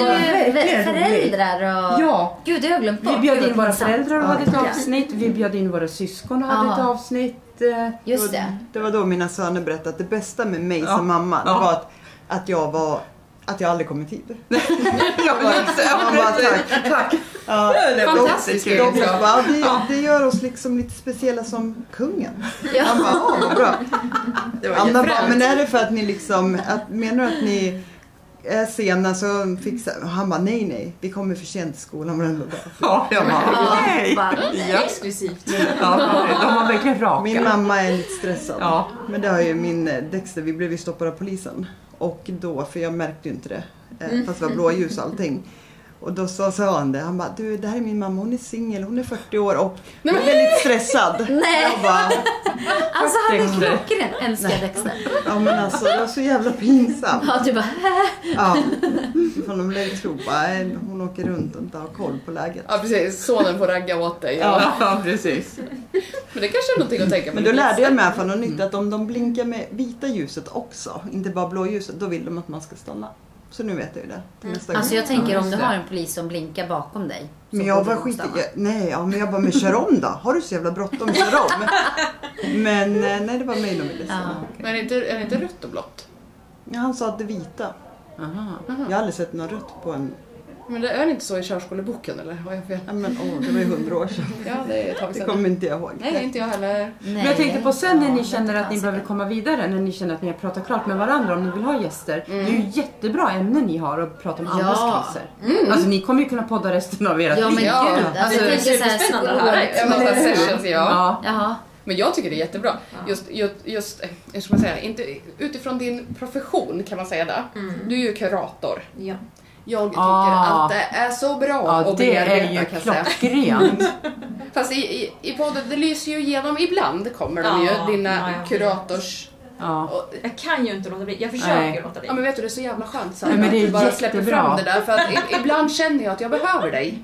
Speaker 5: ju
Speaker 1: verkligen roligt.
Speaker 5: föräldrar och...
Speaker 1: Ja.
Speaker 5: Gud, det har jag glömt bort.
Speaker 1: Vi bjöd
Speaker 5: Gud,
Speaker 1: in våra
Speaker 5: pinsamt.
Speaker 1: föräldrar och hade ett
Speaker 5: Ja.
Speaker 1: avsnitt. Vi bjöd in våra syskon och hade
Speaker 5: Ja.
Speaker 1: ett avsnitt. eh,
Speaker 5: Just det.
Speaker 3: Det var då mina söner berättade att det bästa med mig
Speaker 1: Ja.
Speaker 3: som mamma det
Speaker 1: Ja.
Speaker 3: var att, att jag var att jag aldrig kom i tid.
Speaker 1: Ja, just det.
Speaker 3: Ja, bara
Speaker 1: tack. tack.
Speaker 3: Ja,
Speaker 1: Det var
Speaker 2: Fantastiskt liksom.
Speaker 3: de,
Speaker 1: jättekul.
Speaker 3: de
Speaker 2: Ja.
Speaker 3: bara, det, det gör oss liksom lite speciella som kungen.
Speaker 5: Ja.
Speaker 3: Han bara, "Ja, vad bra.
Speaker 2: Det var
Speaker 3: Anna bara,
Speaker 2: jättefränt.
Speaker 3: men är det för att ni liksom, att, menar du att ni är sena så fixar, och han bara nej nej, vi kommer för sent till skolan varenda dag.
Speaker 1: Ja, jag bara,
Speaker 5: Ja,
Speaker 1: nej.
Speaker 5: bara,
Speaker 2: Exklusivt.
Speaker 1: Ja, de var verkligen raka.
Speaker 3: Min mamma är lite stressad.
Speaker 1: Ja.
Speaker 3: Men det har ju min eh, Dexter, vi blev ju stoppade av polisen. Och då, för jag märkte ju inte det,
Speaker 5: Mm.
Speaker 3: eh, fast det var blåljus och allting. Och då sa, sa han det, han bara du det här är min mamma, hon är singel, hon är 40 år och hon är väldigt stressad.
Speaker 5: Nej.
Speaker 3: Jag bara,
Speaker 5: Alltså han är
Speaker 1: Tänkte.
Speaker 5: klockren. Älskar Dexter.
Speaker 3: ja men alltså det var så jävla pinsamt.
Speaker 5: Ja, du bara
Speaker 3: Ja. Ifall de lägger tro bara, eh, hon åker runt och inte har koll på läget.
Speaker 2: Ja precis, sonen får ragga åt dig.
Speaker 1: Ja, precis.
Speaker 2: Men det kanske är någonting att tänka på.
Speaker 3: Men
Speaker 5: Mm.
Speaker 3: då lärde jag mig i alla fall något nytt att om de blinkar med vita ljuset också, inte bara blåljuset, då vill de att man ska stanna. Så nu vet jag ju det. Till nästa gång.
Speaker 5: Alltså jag tänker
Speaker 1: Ja,
Speaker 5: om
Speaker 1: just
Speaker 5: du
Speaker 1: det.
Speaker 5: har en polis som blinkar bakom dig. så
Speaker 3: Men jag
Speaker 5: borde
Speaker 3: var
Speaker 5: de
Speaker 3: skit
Speaker 5: stanna.
Speaker 3: jag, Nej, ja, men jag bara, men kör om då! Har du så jävla bråttom, kör om! Men eh, nej, det var mig de ville stanna.
Speaker 2: Men är det, inte, är det inte rött och blått?
Speaker 3: Ja. Han sa att det vita.
Speaker 1: Aha.
Speaker 5: Mm-hmm.
Speaker 3: Jag har aldrig sett något rött på en...
Speaker 2: Men det är det inte så i körskoleboken eller? Har jag fel?
Speaker 3: Ja, men åh, det var ju hundra år sedan.
Speaker 2: Ja, det är ett tag
Speaker 3: Det
Speaker 2: sedan.
Speaker 3: kommer inte jag ihåg.
Speaker 2: Nej, inte jag heller.
Speaker 5: Nej.
Speaker 1: Men jag tänkte på sen när ni känner
Speaker 5: Ja,
Speaker 1: att ni
Speaker 5: fasiken.
Speaker 1: behöver komma vidare, när ni känner att ni har pratat klart med varandra om ni vill ha gäster. Det är ju jättebra ämnen ni har att prata om
Speaker 5: Ja.
Speaker 1: andras kriser. Alltså ni kommer ju kunna podda resten av ert
Speaker 5: Ja men
Speaker 1: liv.
Speaker 5: gud.
Speaker 2: Ja,
Speaker 5: Alltså,
Speaker 2: det är
Speaker 5: jag tänker såhär
Speaker 4: superspännande att höra ju.
Speaker 5: psykolog-
Speaker 2: En massa sessions, ja.
Speaker 1: Ja.
Speaker 5: Jaha.
Speaker 2: Men jag tycker det är jättebra. Just, just, just eh, hur ska man säga, inte, utifrån din profession kan man säga det. Du är ju kurator.
Speaker 4: Ja.
Speaker 2: Jag tycker
Speaker 1: Mm. Ah.
Speaker 2: att det är så bra
Speaker 1: Ja,
Speaker 2: att
Speaker 1: det är
Speaker 2: bearbeta
Speaker 1: ju
Speaker 2: kan jag säga.
Speaker 1: klockrent.
Speaker 2: Fast i, i, i podden, det lyser ju igenom. Ibland kommer de
Speaker 4: Ja,
Speaker 2: ju, dina
Speaker 4: ja, jag vet.
Speaker 2: kurators...
Speaker 1: Ja.
Speaker 2: Och,
Speaker 4: Jag kan ju inte låta bli. Jag försöker
Speaker 1: Nej.
Speaker 4: låta bli.
Speaker 2: ja men vet du, det är så jävla skönt Sandra,
Speaker 1: Nej, men det är
Speaker 2: att du bara släpper
Speaker 1: jättebra.
Speaker 2: fram det där. För att i, ibland känner jag att jag behöver dig.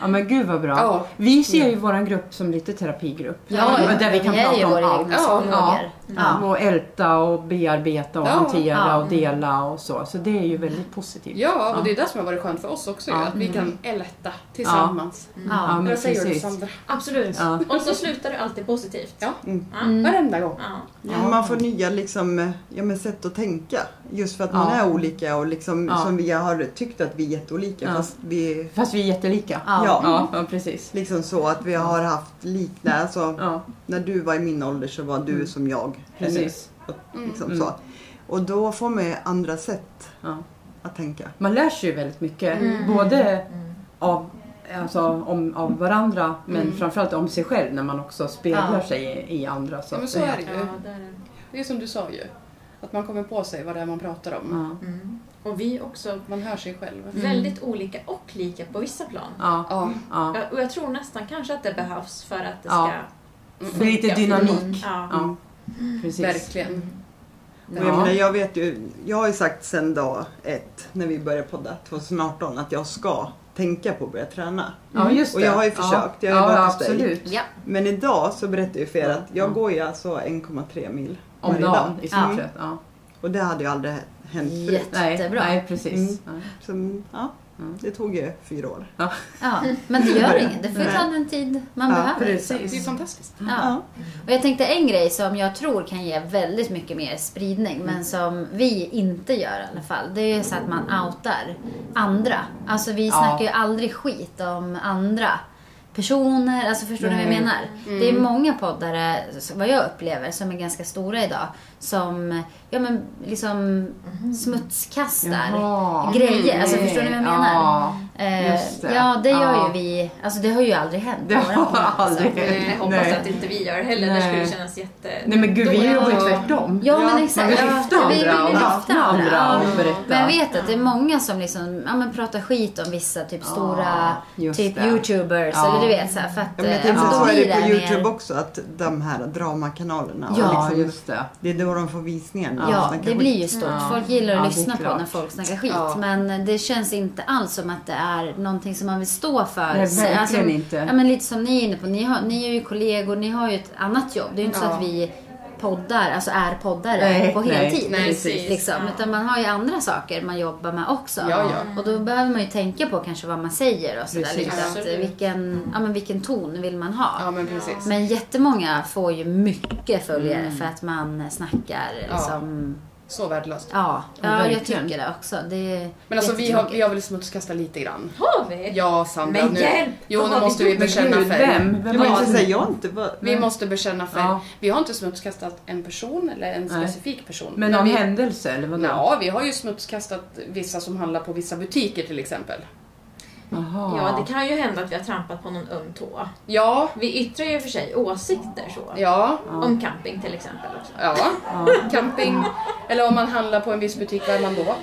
Speaker 1: ja men gud vad bra.
Speaker 2: Ja.
Speaker 1: Vi ser ju våran grupp som lite terapigrupp.
Speaker 5: Ja, ja,
Speaker 1: där vi kan
Speaker 5: vi är ju
Speaker 1: prata om
Speaker 5: våra
Speaker 1: allt.
Speaker 5: egna psykologer.
Speaker 1: Ja. Och älta och bearbeta och
Speaker 2: Ja.
Speaker 1: hantera
Speaker 5: Ja.
Speaker 1: och dela och så. Så det är ju väldigt positivt.
Speaker 2: Ja, och det är det som har varit skönt för oss också. ju, Att vi kan älta tillsammans.
Speaker 1: Mm. Ja, men
Speaker 2: Vad säger du
Speaker 1: precis.
Speaker 2: Sandra?
Speaker 4: Absolut.
Speaker 1: Ja.
Speaker 4: Och så slutar det alltid positivt.
Speaker 2: Ja.
Speaker 4: Mm.
Speaker 2: Varenda gång.
Speaker 4: Ja.
Speaker 3: Ja, man får nya liksom, eh, ja, men sätt att tänka. Just för att man
Speaker 1: Ja.
Speaker 3: är olika och liksom,
Speaker 1: Ja.
Speaker 3: som vi har tyckt att vi är jätteolika
Speaker 1: Ja.
Speaker 3: fast vi...
Speaker 1: Fast vi är jättelika.
Speaker 5: Ja.
Speaker 1: Ja,
Speaker 3: Ja.
Speaker 1: ja, ja precis.
Speaker 3: Liksom så att vi har haft liknande, alltså
Speaker 1: Ja, Mm.
Speaker 3: när du var i min ålder så var du som jag.
Speaker 1: precis.
Speaker 3: Eller, liksom
Speaker 1: Mm.
Speaker 3: så. Och då får man ju andra sätt
Speaker 1: Ja.
Speaker 3: att tänka.
Speaker 1: Man lär sig ju väldigt mycket.
Speaker 3: Mm.
Speaker 1: Både av, alltså, om, av varandra men
Speaker 3: Mm.
Speaker 1: framförallt om sig själv när man också speglar
Speaker 5: Ja.
Speaker 1: sig i, i andra. Så
Speaker 2: Ja, men
Speaker 1: att
Speaker 2: så
Speaker 1: säga.
Speaker 2: är det
Speaker 4: Ja,
Speaker 2: ju.
Speaker 4: där är det.
Speaker 2: Det är som du sa ju. Att man kommer på sig vad det är man pratar om.
Speaker 1: Ja.
Speaker 4: Mm. Och vi är också
Speaker 1: Mm.
Speaker 2: Man hör sig själv.
Speaker 4: väldigt olika och lika på vissa plan.
Speaker 1: Ja,
Speaker 2: Mm. Ja,
Speaker 1: ja.
Speaker 4: Ja, Och jag tror nästan kanske att det behövs för att det ska...
Speaker 1: Ja. Det är lite dynamik.
Speaker 4: Ja. Mm.
Speaker 1: Ja,
Speaker 3: Mm.
Speaker 1: precis.
Speaker 2: verkligen.
Speaker 3: Och jag, menar, jag, vet ju, jag har ju sagt sedan dag ett, när vi började podda 2018, att jag ska tänka på att börja träna.
Speaker 1: Ja, just
Speaker 3: Mm. Och
Speaker 1: det.
Speaker 3: jag har ju
Speaker 1: Ja.
Speaker 3: försökt, jag har ju
Speaker 1: ja,
Speaker 3: varit hos dig.
Speaker 1: absolut.
Speaker 5: Ja.
Speaker 3: Men idag så berättade ju för er att jag
Speaker 1: Mm.
Speaker 3: går ju alltså 1,3 mil
Speaker 1: Om
Speaker 3: varje
Speaker 1: dagen i
Speaker 3: dag. Mm.
Speaker 1: stort sett. Ja.
Speaker 3: Och det hade ju aldrig hänt förut.
Speaker 1: Nej,
Speaker 5: Jättebra.
Speaker 1: nej, precis.
Speaker 3: Mm.
Speaker 1: Ja.
Speaker 3: Så, ja,
Speaker 1: Mm.
Speaker 3: det tog ju fyra år.
Speaker 5: Ja, men det gör inget. Det får ju ta den tid man
Speaker 3: Ja,
Speaker 5: behöver.
Speaker 2: Det är
Speaker 1: precis.
Speaker 2: ju fantastiskt.
Speaker 5: Ja. Och jag tänkte en grej som jag tror kan ge väldigt mycket mer spridning
Speaker 1: Mm.
Speaker 5: men som vi inte gör i alla fall. Det är ju så att man outar andra. Alltså vi snackar ju aldrig skit om andra personer. Alltså förstår ni vad
Speaker 1: Nej. Mm.
Speaker 5: jag menar? Det är många poddare, vad jag upplever, som är ganska stora idag. Som ja, men, liksom smutskastar
Speaker 1: Mm. Jaha. Mm.
Speaker 5: grejer. Alltså förstår ni vad jag menar?
Speaker 1: Ja.
Speaker 5: Eh,
Speaker 1: Just det.
Speaker 5: Ja, det gör
Speaker 1: Ja.
Speaker 5: ju vi. Alltså det har ju aldrig hänt.
Speaker 1: Det
Speaker 5: på våran
Speaker 1: har
Speaker 5: podd, alltså.
Speaker 1: aldrig
Speaker 4: Nej, Jag hoppas
Speaker 1: Nej.
Speaker 4: att inte vi gör heller.
Speaker 1: Nej.
Speaker 4: Det skulle kännas jätte...
Speaker 1: Nej men gud, vi
Speaker 4: dåligt.
Speaker 1: jobbar ju
Speaker 4: Ja.
Speaker 1: tvärtom.
Speaker 5: Ja,
Speaker 3: Ja,
Speaker 5: men
Speaker 1: Man vill
Speaker 5: exakt. Ja,
Speaker 1: lyfta
Speaker 5: vi vill
Speaker 1: andra och
Speaker 5: lyfta
Speaker 1: öppna andra och berätta.
Speaker 5: Men jag vet att det är många som liksom, ja, men pratar skit om vissa typ stora
Speaker 1: just
Speaker 5: typ
Speaker 1: det.
Speaker 5: Youtubers
Speaker 1: Ja.
Speaker 5: eller du vet så här, för att
Speaker 3: Ja, men jag
Speaker 5: eh,
Speaker 3: tänkte
Speaker 5: att
Speaker 3: så
Speaker 5: de
Speaker 3: är det
Speaker 5: blir
Speaker 3: på
Speaker 5: där
Speaker 3: Youtube
Speaker 5: mer-
Speaker 3: också, att de här dramakanalerna. och
Speaker 1: Ja,
Speaker 3: liksom,
Speaker 1: just det.
Speaker 3: det är då de får visningar. när de
Speaker 5: Ja,
Speaker 3: snackar
Speaker 5: det
Speaker 3: skit.
Speaker 5: blir ju stort.
Speaker 1: Ja.
Speaker 5: Folk gillar att
Speaker 1: Ja, det är
Speaker 5: lyssna på
Speaker 1: klart.
Speaker 5: när folk snackar skit.
Speaker 1: Ja.
Speaker 5: Men det känns inte alls som att det är någonting som man vill stå för.
Speaker 1: Nej,
Speaker 5: Så-
Speaker 1: verkligen
Speaker 5: alltså,
Speaker 1: inte.
Speaker 5: Ja, men lite som ni är inne på. Ni, har, ni är ju kollegor, ni har ju ett annat jobb. Det är ju inte
Speaker 1: Ja.
Speaker 5: så att vi poddar, alltså är poddare
Speaker 1: Nej,
Speaker 5: på
Speaker 1: nej,
Speaker 5: heltid.
Speaker 1: nej,
Speaker 4: precis.
Speaker 5: liksom.
Speaker 4: Ja.
Speaker 5: Utan man har ju andra saker man jobbar med också.
Speaker 2: Ja, ja.
Speaker 5: Och då behöver man ju tänka på kanske vad man säger och sådär.
Speaker 1: Precis.
Speaker 5: Lite att, eh,
Speaker 4: Absolut.
Speaker 5: vilken, ja, men vilken ton vill man ha?
Speaker 2: Ja, men precis.
Speaker 5: Men jättemånga får ju mycket följare för att man snackar
Speaker 2: Ja.
Speaker 5: liksom,
Speaker 2: Så värdelöst.
Speaker 5: Ja,
Speaker 1: Ja,
Speaker 5: ja jag
Speaker 1: verkligen.
Speaker 5: tycker det också. Det är
Speaker 2: Men alltså vi har, vi
Speaker 5: jättetråkigt.
Speaker 2: har väl smutskastat lite grann.
Speaker 4: Har vi?
Speaker 2: Ja, Sandra.
Speaker 4: Men
Speaker 2: nu-
Speaker 4: hjälp,
Speaker 2: Jo,
Speaker 4: vad
Speaker 2: nu
Speaker 4: har vi
Speaker 2: måste vi
Speaker 4: gjort?
Speaker 2: bekänna
Speaker 1: Gud,
Speaker 2: färg.
Speaker 1: vem? Vem har
Speaker 3: Jag vill
Speaker 1: inte
Speaker 3: inte
Speaker 1: sagt-
Speaker 3: säga, jag har inte varit...
Speaker 2: Vi måste bekänna färg.
Speaker 1: Ja.
Speaker 2: Vi har inte smutskastat en person eller en
Speaker 1: Nej.
Speaker 2: specifik person.
Speaker 1: Men någon
Speaker 2: vi,
Speaker 1: händelse eller vadå?
Speaker 2: Ja, vi har ju smutskastat vissa som handlar på vissa butiker till exempel.
Speaker 1: Jaha.
Speaker 4: Ja, det kan ju hända att vi har trampat på någon öm tå.
Speaker 2: Ja,
Speaker 4: Vi yttrar ju för sig åsikter så.
Speaker 2: ja,
Speaker 4: Om camping till exempel också.
Speaker 2: ja. Camping. Eller om man handlar på en viss butik, vad är man då?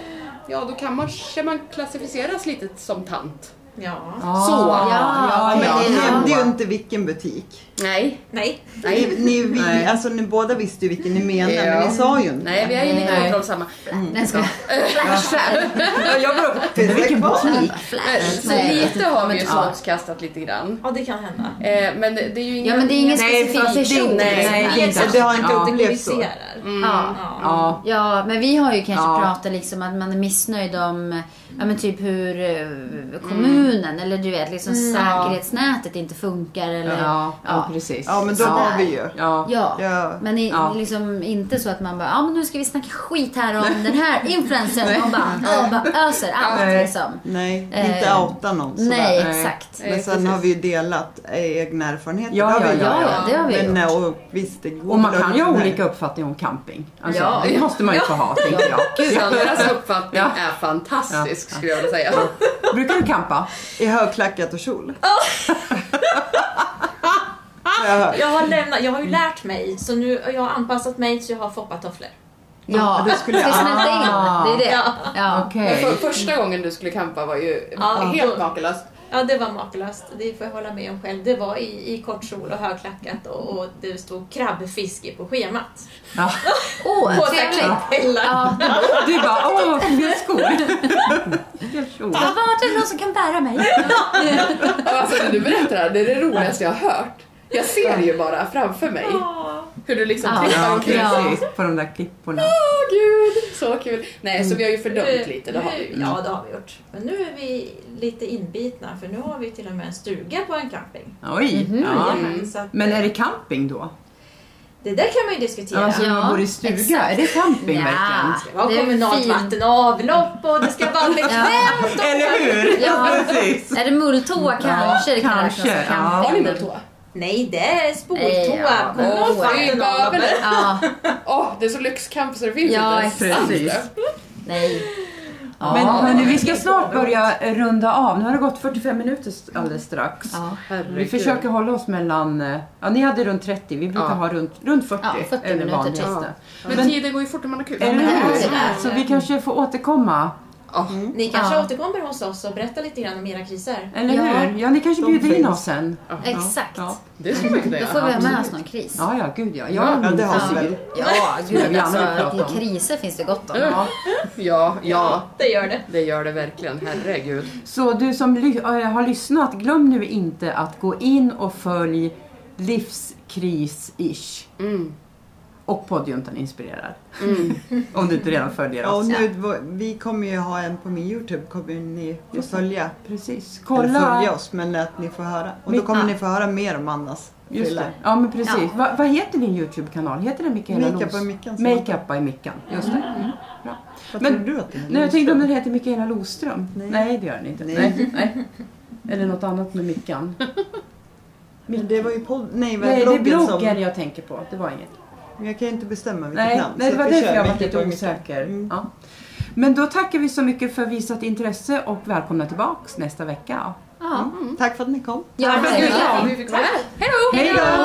Speaker 2: Ja, då kan man, kan man klassificeras lite som tant.
Speaker 4: Ja.
Speaker 1: Ah,
Speaker 2: Så.
Speaker 1: Ja, ja,
Speaker 3: Men
Speaker 1: ja,
Speaker 3: ni
Speaker 1: ja.
Speaker 3: nämnde ju inte vilken butik.
Speaker 2: Nej.
Speaker 4: Nej.
Speaker 2: Nej.
Speaker 3: Ni, ni, vi,
Speaker 1: Nej.
Speaker 3: alltså, ni båda visste ju vilken ni menade,
Speaker 2: Ja.
Speaker 3: men ni sa ju inte.
Speaker 2: Nej, vi är ju lite
Speaker 1: Nej.
Speaker 2: återhållsamma. Eh,
Speaker 1: Mm.
Speaker 5: Nej, ska jag
Speaker 1: Ja, jag var uppe.
Speaker 3: Finns det
Speaker 1: Vilken
Speaker 3: kvar?
Speaker 1: butik?
Speaker 2: Eh, Så
Speaker 5: Nej.
Speaker 2: lite har vi ju
Speaker 5: Men, ja.
Speaker 2: smutskastat lite grann.
Speaker 4: Ja, det kan hända.
Speaker 2: Eh, Men det, det är ju
Speaker 5: Ja, men det är ingen
Speaker 1: Nej, fast
Speaker 5: specifik
Speaker 1: det är
Speaker 5: person.
Speaker 1: inte-
Speaker 5: liksom.
Speaker 1: nej,
Speaker 5: Helt
Speaker 1: inte.
Speaker 5: sant.
Speaker 3: Det har inte
Speaker 1: Ja.
Speaker 3: upplevt så.
Speaker 4: Kategoriserar.
Speaker 1: Mm.
Speaker 5: Ja.
Speaker 4: Ja.
Speaker 1: Ja.
Speaker 5: Ja, men vi har ju kanske
Speaker 1: Ja.
Speaker 5: pratat liksom att man är missnöjd om ja, men typ hur eh, kommunen
Speaker 1: Mm.
Speaker 5: eller du vet liksom säkerhetsnätet inte funkar eller
Speaker 1: Ja, ja, precis.
Speaker 3: Ja, men då
Speaker 5: Sådär.
Speaker 3: var vi ju.
Speaker 1: Ja.
Speaker 5: Ja.
Speaker 3: Ja.
Speaker 5: men i,
Speaker 1: Ja.
Speaker 5: liksom inte så att man bara, ja ah, men nu ska vi snacka skit här om den här influencern och bara, och bara öser allt
Speaker 1: Nej.
Speaker 5: liksom.
Speaker 3: Nej,
Speaker 5: Eh,
Speaker 3: inte outa någon sådär.
Speaker 5: Nej,
Speaker 1: Nej.
Speaker 5: exakt.
Speaker 3: Men sen har vi ju delat eh, egna erfarenheter.
Speaker 1: Ja,
Speaker 3: det har
Speaker 1: ja,
Speaker 3: vi ju.
Speaker 5: Ja, ja, det har vi gjort.
Speaker 3: Men eh, och visst, det går
Speaker 1: Och man
Speaker 3: väl
Speaker 1: kan ju
Speaker 3: upp-
Speaker 1: ha
Speaker 3: nej.
Speaker 1: olika uppfattningar om camping. Alltså,
Speaker 5: Ja.
Speaker 1: Det måste man ju få ha, tänker jag.
Speaker 2: Sandras uppfattning
Speaker 1: Ja.
Speaker 2: är fantastisk skulle jag vilja säga.
Speaker 1: Brukar du campa?
Speaker 3: I högklackat och kjol. Har jag hört.
Speaker 4: Jag, har lämnat, jag har ju lärt mig, så nu jag har anpassat mig så jag har foppatofflor.
Speaker 5: Ja,
Speaker 3: det skulle
Speaker 5: ska
Speaker 3: jag-
Speaker 5: smälta in. Det är det.
Speaker 4: Ja.
Speaker 5: Ja.
Speaker 2: Men
Speaker 1: Ah. Okej.
Speaker 2: för, första gången du skulle campa var ju
Speaker 4: Ja.
Speaker 2: helt makalöst.
Speaker 4: Ja, det var makalöst. Det får jag hålla med om själv. Det var i, i kort kjol och högklackat och, och det stod krabbfiske på schemat.
Speaker 1: Ja.
Speaker 5: Åh,
Speaker 4: På
Speaker 5: trevligt.
Speaker 4: tacklingsbällar.
Speaker 5: Ja.
Speaker 1: Du bara, åh, fler skor. Fler skor.
Speaker 5: Ja, vart är det någon som kan bära mig?
Speaker 2: Alltså när du berättar det här, det är det roligaste jag har hört. Jag ser ju bara framför mig
Speaker 4: Ja.
Speaker 2: hur du liksom
Speaker 5: Ja.
Speaker 2: trippar
Speaker 1: Ja,
Speaker 2: omkring. Åh
Speaker 1: precis. På de där klipporna.
Speaker 2: gud, så kul! Nej, så vi har ju fördömt lite, det har vi.
Speaker 4: Nu- Ja, det har vi gjort. Men nu är vi lite inbitna för nu har vi till och med en stuga på en camping.
Speaker 1: Oj. Mm-hmm. Ja.
Speaker 5: Mm.
Speaker 4: Jajamän, så att,
Speaker 1: Men är det camping då?
Speaker 4: Det där kan man ju diskutera.
Speaker 1: Alltså när man
Speaker 5: Ja,
Speaker 1: bor i stuga,
Speaker 5: exakt.
Speaker 1: är det camping
Speaker 5: Ja.
Speaker 1: verkligen?
Speaker 4: Det var
Speaker 5: Det är
Speaker 4: kommunalt
Speaker 5: fint.
Speaker 4: vatten och avlopp och det ska vara bekvämt.
Speaker 1: Eller hur?
Speaker 5: Ja.
Speaker 1: Precis.
Speaker 5: Är det mulltoa kanske? det alltså, kan
Speaker 1: kanske,
Speaker 5: räknas som
Speaker 1: ja.
Speaker 5: camping.
Speaker 2: Har ni mulltoa?
Speaker 4: Nej, det är
Speaker 5: Eh, ja,
Speaker 4: spoltoa. Kommunalt
Speaker 5: men-
Speaker 4: vatten och avlopp.
Speaker 5: Ja,
Speaker 2: Åh, det är så lyxcamp så det finns
Speaker 5: Ja,
Speaker 2: inte.
Speaker 1: exakt.
Speaker 2: Precis.
Speaker 5: nej. Ja.
Speaker 1: Men hörni, vi ska snart börja runda av. Nu har det gått 45 minuter alldeles strax.
Speaker 5: Ja.
Speaker 1: Vi försöker hålla oss mellan, eh, ja ni hade runt 30, vi brukar
Speaker 2: Ja.
Speaker 1: ha runt, runt 40.
Speaker 5: Ja, 40
Speaker 1: är det
Speaker 5: minuter
Speaker 1: vanligaste.
Speaker 5: typ.
Speaker 2: Men tiden går ju fort när man har kul.
Speaker 1: Eller
Speaker 5: men det är
Speaker 1: hur?
Speaker 5: så där.
Speaker 1: Så vi kanske får återkomma,
Speaker 4: Ni kanske
Speaker 5: Ja.
Speaker 4: återkommer hos oss och berättar lite grann om era kriser.
Speaker 1: eller
Speaker 5: Ja.
Speaker 1: hur? Ja, ni kanske
Speaker 3: De
Speaker 1: bjuder in
Speaker 3: finns.
Speaker 1: oss sen.
Speaker 5: Exakt.
Speaker 1: Ja.
Speaker 2: Det skulle man kunna
Speaker 5: Då får vi
Speaker 2: göra.
Speaker 5: ha med oss någon kris.
Speaker 1: Ja, ja, gud ja.
Speaker 3: Ja,
Speaker 1: Jag
Speaker 3: det
Speaker 1: minns
Speaker 3: har vi
Speaker 1: inte.
Speaker 3: väl.
Speaker 5: Ja, gud
Speaker 1: gärna prata
Speaker 5: alltså.
Speaker 1: om.
Speaker 5: Kriser finns det gott om.
Speaker 2: Ja, ja, ja,
Speaker 4: Det gör det.
Speaker 2: det gör det verkligen. Herregud.
Speaker 1: Så du som ly- eh, har lyssnat, glöm nu inte att gå in och följ livskris-ish
Speaker 2: Mm.
Speaker 1: och Poddjuntan inspirerar. Om du inte redan följer
Speaker 3: Ja, och
Speaker 1: oss.
Speaker 3: nu, vi kommer ju ha en på min Youtube, kommer ni att följa.
Speaker 1: Precis.
Speaker 3: Eller
Speaker 1: Kolla.
Speaker 3: följa oss, men att ni får höra. Och då
Speaker 1: Mitt-
Speaker 3: kommer
Speaker 5: ja.
Speaker 3: ni få höra mer om Annas
Speaker 1: Just det.
Speaker 3: prylar.
Speaker 1: Ja, men precis.
Speaker 5: Ja.
Speaker 1: Va, vad heter din Youtube-kanal? Heter den Mikaela
Speaker 3: Makeup
Speaker 1: Los?
Speaker 3: by Mickan, så
Speaker 1: Makeup by Mickan. Just det. Mm. Bra.
Speaker 3: Vad
Speaker 1: Men-
Speaker 3: tror du att det är?
Speaker 1: Nej, jag tänkte om den heter Mikaela Loström. Nej,
Speaker 3: Nej.
Speaker 1: det gör den inte.
Speaker 3: Nej.
Speaker 1: Nej. Nej. Eller något annat med Mickan.
Speaker 3: Men det var ju podd... Nej, var
Speaker 1: Nej, det är
Speaker 3: bloggen
Speaker 1: bloggen
Speaker 3: som...
Speaker 1: jag tänker på. Det var inget.
Speaker 3: Men jag kan ju inte bestämma vilket
Speaker 1: Nej,
Speaker 3: namn.
Speaker 1: nej,
Speaker 3: så
Speaker 1: det var
Speaker 3: att vi
Speaker 1: därför
Speaker 3: kör
Speaker 1: jag var
Speaker 3: Mickan
Speaker 1: lite
Speaker 3: på Mickan.
Speaker 1: osäker.
Speaker 3: Mm.
Speaker 1: Ja. Men då tackar vi så mycket för visat intresse och välkomna tillbaks nästa vecka.
Speaker 5: Ja.
Speaker 3: Mm. Tack för att ni kom.
Speaker 5: Ja,
Speaker 2: Herregud,
Speaker 5: verkligen.
Speaker 2: ja, vi fick vara med. Hej då!
Speaker 1: Hej då!